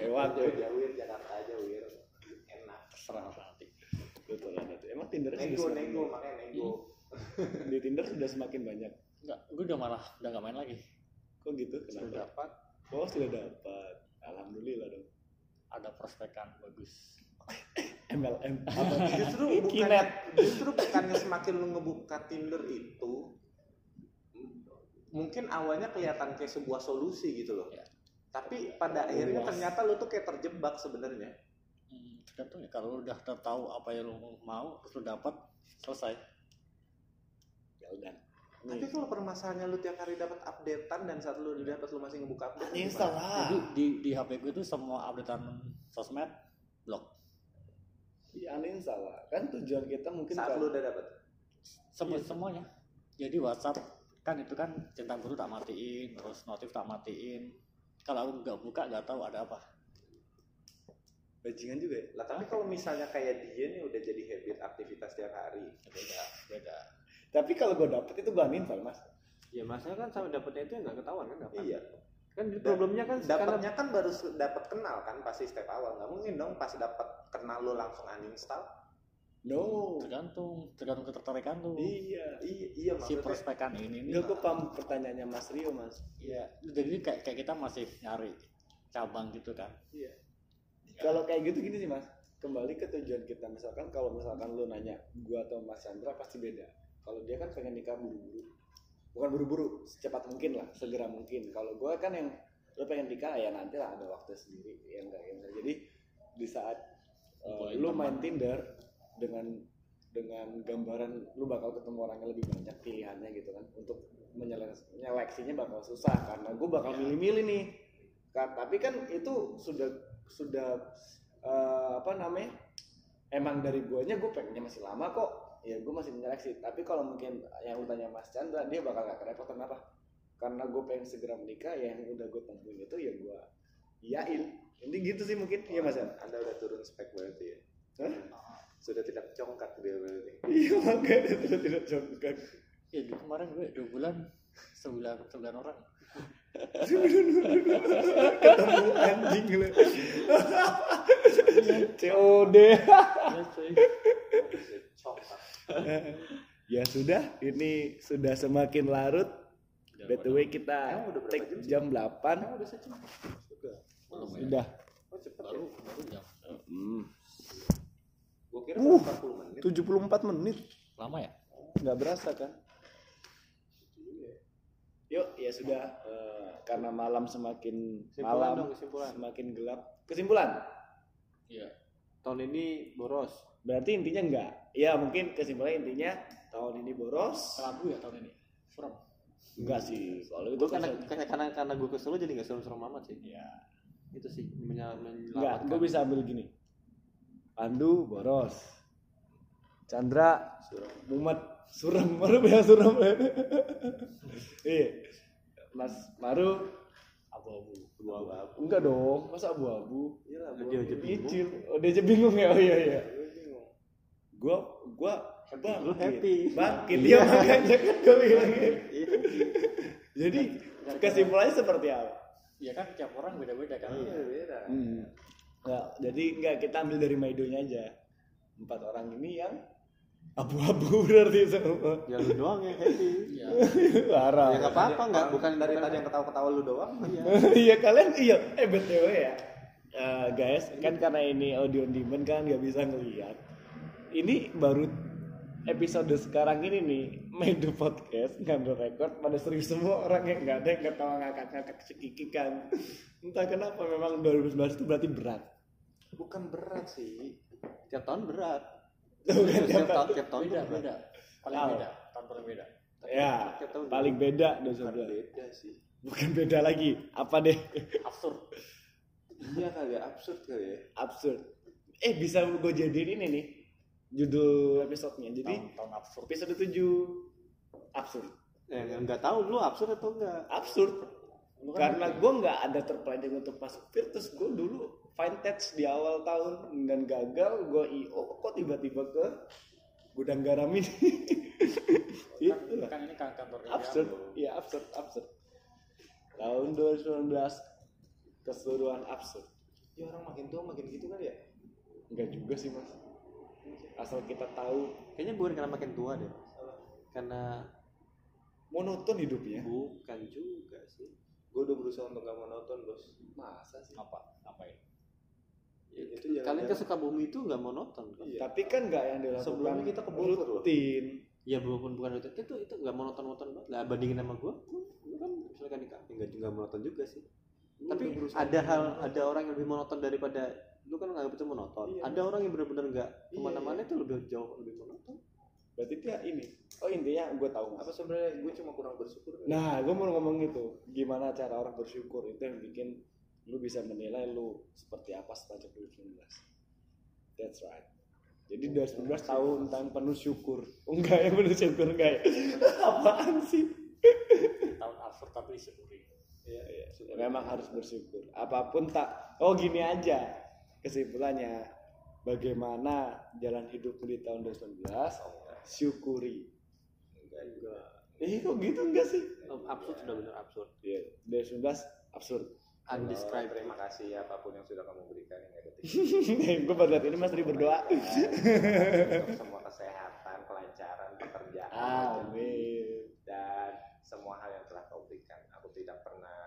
S4: Hewan
S6: jauh jauhin Jakarta aja wir enak
S5: terserah nanti
S4: Betul banget. Emang Tinder
S6: nego
S4: sudah semakin
S6: nego makanya nego
S4: banyak? di Tinder sudah semakin banyak.
S5: enggak gue udah malah udah gak main lagi
S4: Kok gitu?
S7: sudah
S4: Kenapa?
S7: dapat
S4: Oh sudah dapat. Alhamdulillah dong.
S5: ada prospekan bagus
S4: MLM apa?
S6: justru bukan
S4: Kinet.
S6: justru bukannya semakin lu ngebuka Tinder itu m- mungkin awalnya kelihatan kayak sebuah solusi gitu loh
S5: Ya.
S6: tapi pada akhirnya
S4: Luas.
S6: ternyata lu tuh kayak terjebak sebenarnya
S5: Hmm, tergantung ya kalau lu udah tahu apa yang lu mau terus lu dapat selesai
S4: Ya udah.
S6: tapi kan kalau permasalahannya lu tiap hari dapat updatean dan saat lu
S4: Ya.
S6: udah dapat lu masih ngebuka update
S4: Ini
S6: gimana?
S5: jadi
S4: salah.
S5: di di HP gue itu semua updatean sosmed blok
S4: Anin salah. Kan tujuan kita mungkin
S6: saat lu
S4: kalau-
S6: udah dapat
S5: semua semuanya Iya. jadi WhatsApp kan itu kan centang biru tak matiin terus notif tak matiin kalau lu nggak buka nggak tahu ada apa
S4: bajingan juga ya.
S6: lah tapi kalau misalnya kayak dia nih udah jadi habit aktivitas tiap hari
S5: beda beda
S4: Tapi kalau gue dapet itu gue uninstall mas.
S7: ya masalah kan sampai dapatnya itu nggak ketahuan kan dapat
S6: iya
S7: kan problemnya kan karena
S6: dapatnya kan baru se- dapat kenal kan pasti step awal nggak mungkin dong pas dapat kenal lu langsung uninstall
S4: No.
S5: tergantung tergantung ketertarikan lu
S4: Iya.
S6: iya iya
S5: si
S6: maksudnya
S5: prospekan ini nih
S4: Enggak gue paham pertanyaannya Mas Rio mas.
S5: Iya, jadi kayak, kayak kita masih nyari cabang gitu kan.
S4: Kalau kayak gitu gini sih mas. Kembali ke tujuan kita misalkan kalau misalkan lu nanya gua atau Mas Chandra pasti beda. Kalau dia kan pengen nikah buru-buru. Bukan buru-buru, secepat mungkin lah, segera mungkin. Kalau gua kan yang lu pengen nikah ya nanti lah ada waktu sendiri ya enggak ya enggak. Jadi di saat eh,
S5: Kumpulin
S4: lu
S5: teman.
S4: main Tinder dengan dengan gambaran lu bakal ketemu orang yang lebih banyak pilihannya gitu kan untuk menyelek- menyeleksinya bakal susah karena gue bakal milih-milih nih Ka- tapi kan itu sudah sudah eh, apa namanya emang dari guanya gue pengennya masih lama kok ya gue masih menyeleksi tapi kalau mungkin yang lu tanya Mas Chandra dia bakal gak kerepotan apa karena gue pengen segera menikah ya yang udah gue temuin itu ya gue iyain ini gitu sih mungkin ya Mas Chandra
S6: anda udah turun spek berarti ya
S4: Hah?
S6: sudah tidak congkak dia berarti
S5: iya makanya tidak tidak jongkak
S9: ya di- kemarin gue dua bulan sembilan sembilan orang
S5: ketemu anjing lu COD
S9: ya Iya, cuy
S5: ya sudah ini sudah semakin larut by the way kita cek jam 8 sudah
S9: Oh,
S5: Hmm.
S9: baru baru jam
S6: gue kira
S5: Uh.
S6: 40 menit
S5: 74 menit
S9: lama ya
S5: nggak berasa kan yuk ya sudah eh, karena malam semakin
S7: Kesimpulan
S5: malam
S7: dong, kesimpulan.
S5: semakin gelap kesimpulan
S9: iya
S7: tahun ini boros
S5: berarti intinya enggak ya mungkin kesimpulan intinya tahun ini boros
S9: kelabu ya tahun ini serem
S5: enggak sih soalnya itu
S7: gue karena, karena karena karena gue kesel jadi nggak serem-serem amat sih
S9: ya
S7: itu sih menya-
S5: Enggak,
S7: menyelamatkan
S5: gue bisa ambil gini. Pandu boros. Chandra mumet suram maru ya suram. Iya. Mas Maru abu-abu. Abu-abu. Enggak dong, masa abu-abu? Iya,
S7: Dia aja bingung.
S5: Icil. Oh, dia aja bingung ya. Oh iya iya. Gue gue bangkit.
S7: Lu happy.
S5: Bangkit dia makanya kan gue bilang.
S7: Iya.
S5: Jadi kesimpulannya seperti apa?
S9: ya kan tiap orang beda beda kan
S5: Hmm. Nah, jadi nggak kita ambil dari Maidonya aja. Empat orang ini yang abu-abu berarti semua.
S7: ya lu doang yang happy
S9: iya
S7: ya
S5: Parah.
S7: nggak apa-apa nggak bukan dari tadi yang
S6: ketawa-ketawa lu doang
S7: iya
S5: Iya kalian iya eh btw ya Eh, guys kan karena ini audio on demand kan nggak bisa ngelihat. Ini baru episode sekarang ini nih Maido podcast ngambil record pada serius semua orang yang nggak ada yang ketawa ngakak-ngakak cekikikan kan. entah kenapa memang 2019 itu berarti berat
S6: bukan berat sih
S7: tiap tahun berat
S5: Bukan
S7: tiap tahun tiap tahun
S9: beda
S7: beda
S9: beda paling
S5: Tahu.
S9: beda tahun paling beda
S5: ya
S7: tiap tahun
S5: paling beda 2019
S6: beda sih
S5: bukan beda lagi apa deh
S9: absurd
S6: iya kali ya absurd kali ya
S5: absurd eh bisa gue jadiin ini nih judul episode-nya jadi
S9: tahun tahun absurd
S5: episode 7 absurd
S7: ya nggak tahu lu absurd atau enggak
S5: absurd karena gue nggak ada terplanning untuk masuk Virtus gue dulu fine touch di awal tahun dan gagal gue io kok tiba-tiba ke gudang garam ini
S4: Iya,
S5: itu lah
S9: kan ini kan kantornya
S5: absurd ya absurd absurd tahun 2019 keseluruhan absurd
S6: ya orang makin tua makin gitu kali ya
S5: Enggak juga sih mas Asal kita tahu
S7: kayaknya bukan karena makin tua deh karena
S5: monoton hidupnya
S7: bukan juga sih
S6: gue udah berusaha untuk gak monoton bos masa sih
S9: apa ngapain
S6: ya, itu
S4: Kan
S7: kalian
S6: jalan-jalan.
S7: ke Sukabumi itu nggak monoton kan?
S6: Iya.
S5: Tapi kan nggak yang dilakukan
S6: Sebelumnya kita ke Bogor, loh.
S5: rutin
S7: ya bukan bukan itu itu itu nggak monoton-monoton banget lah bandingin sama gua gua kan misalkan nikah
S6: nggak juga monoton juga sih Lu
S7: tapi
S6: udah berusaha
S7: ada
S6: untuk
S7: hal
S6: monoton.
S7: ada orang yang lebih monoton daripada lu kan nggak itu monoton
S6: Iya.
S7: ada orang yang benar-benar nggak
S6: Iya,
S7: kemana-mana itu lebih jauh lebih monoton
S5: Berarti dia ini Oh intinya gue tahu mas
S6: apa sebenarnya gue cuma kurang bersyukur
S5: Nah gue mau ngomong itu Gimana cara orang bersyukur Itu yang bikin Lu bisa menilai lu Seperti apa sepanjang 2019 That's right jadi 2019 tahun tentang penuh syukur Enggak ya penuh syukur enggak ya Apaan sih
S9: tahun absurd tapi disyukuri
S5: Iya, iya. Memang harus bersyukur. Apapun tak. Oh gini aja kesimpulannya. Bagaimana jalan hidupmu di tahun 2019? Syukuri.
S6: enggak juga
S5: Eh kok gitu enggak sih?
S7: absurd sudah benar absurd
S5: Iya. 2019 absurd.
S7: undescribed
S6: terima kasih apapun yang sudah kamu berikan yang ada
S5: Gue baru lihat ini Mas Ri berdoa.
S6: untuk semua kesehatan kelancaran pekerjaan
S5: Amin.
S6: dan semua hal yang telah kau berikan aku tidak pernah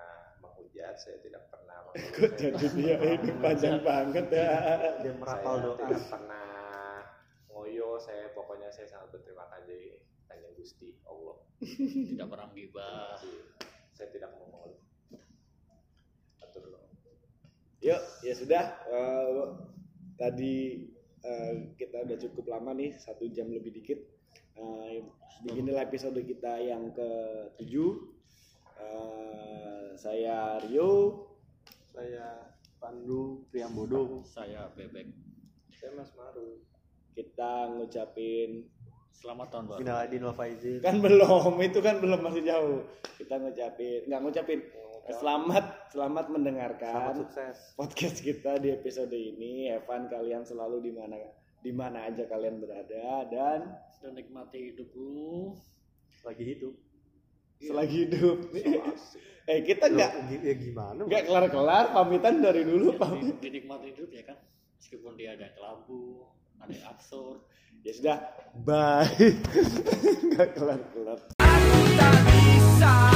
S6: menghujat saya tidak pernah
S5: Kok
S6: mengeluh, saya
S5: jadi
S6: tidak
S5: dia
S6: pernah
S5: ini panjang banget ya.
S7: dia merapal
S6: saya
S7: doa
S6: tidak pernah ngoyo saya pokoknya saya sangat berterima kasih Kanjeng Gusti Allah Iya.
S9: tidak pernah gibah
S6: saya tidak mau mengeluh atur dong.
S5: Yuk, ya sudah. Eh, tadi eh, kita udah cukup lama nih, satu jam lebih dikit. Eh, beginilah episode kita yang ke tujuh. Eh, saya Rio.
S7: saya Pandu Priambodo
S9: saya bebek
S6: saya Mas Maru
S5: Kita ngucapin
S9: selamat tahun baru
S7: Minal Aidin wal Faizin
S5: kan belum, itu kan belum masih jauh. Kita ngucapin, nggak ngucapin. Eh, Selamat, selamat mendengarkan.
S7: selamat sukses
S5: podcast kita di episode ini. Evan kalian selalu di mana di mana aja kalian berada dan
S10: dan nikmati hidup lu
S7: lagi hidup
S10: Iya.
S5: selagi hidup. eh kita
S7: Loh,
S5: nggak
S7: gi- ya gimana
S5: nggak kelar kelar pamitan dari dulu pamit.
S10: Di- dinikmati Iya, hidup ya kan meskipun dia ada yang kelabu ada yang absurd
S5: Ya sudah, bye. nggak kelar kelar.
S11: tak bisa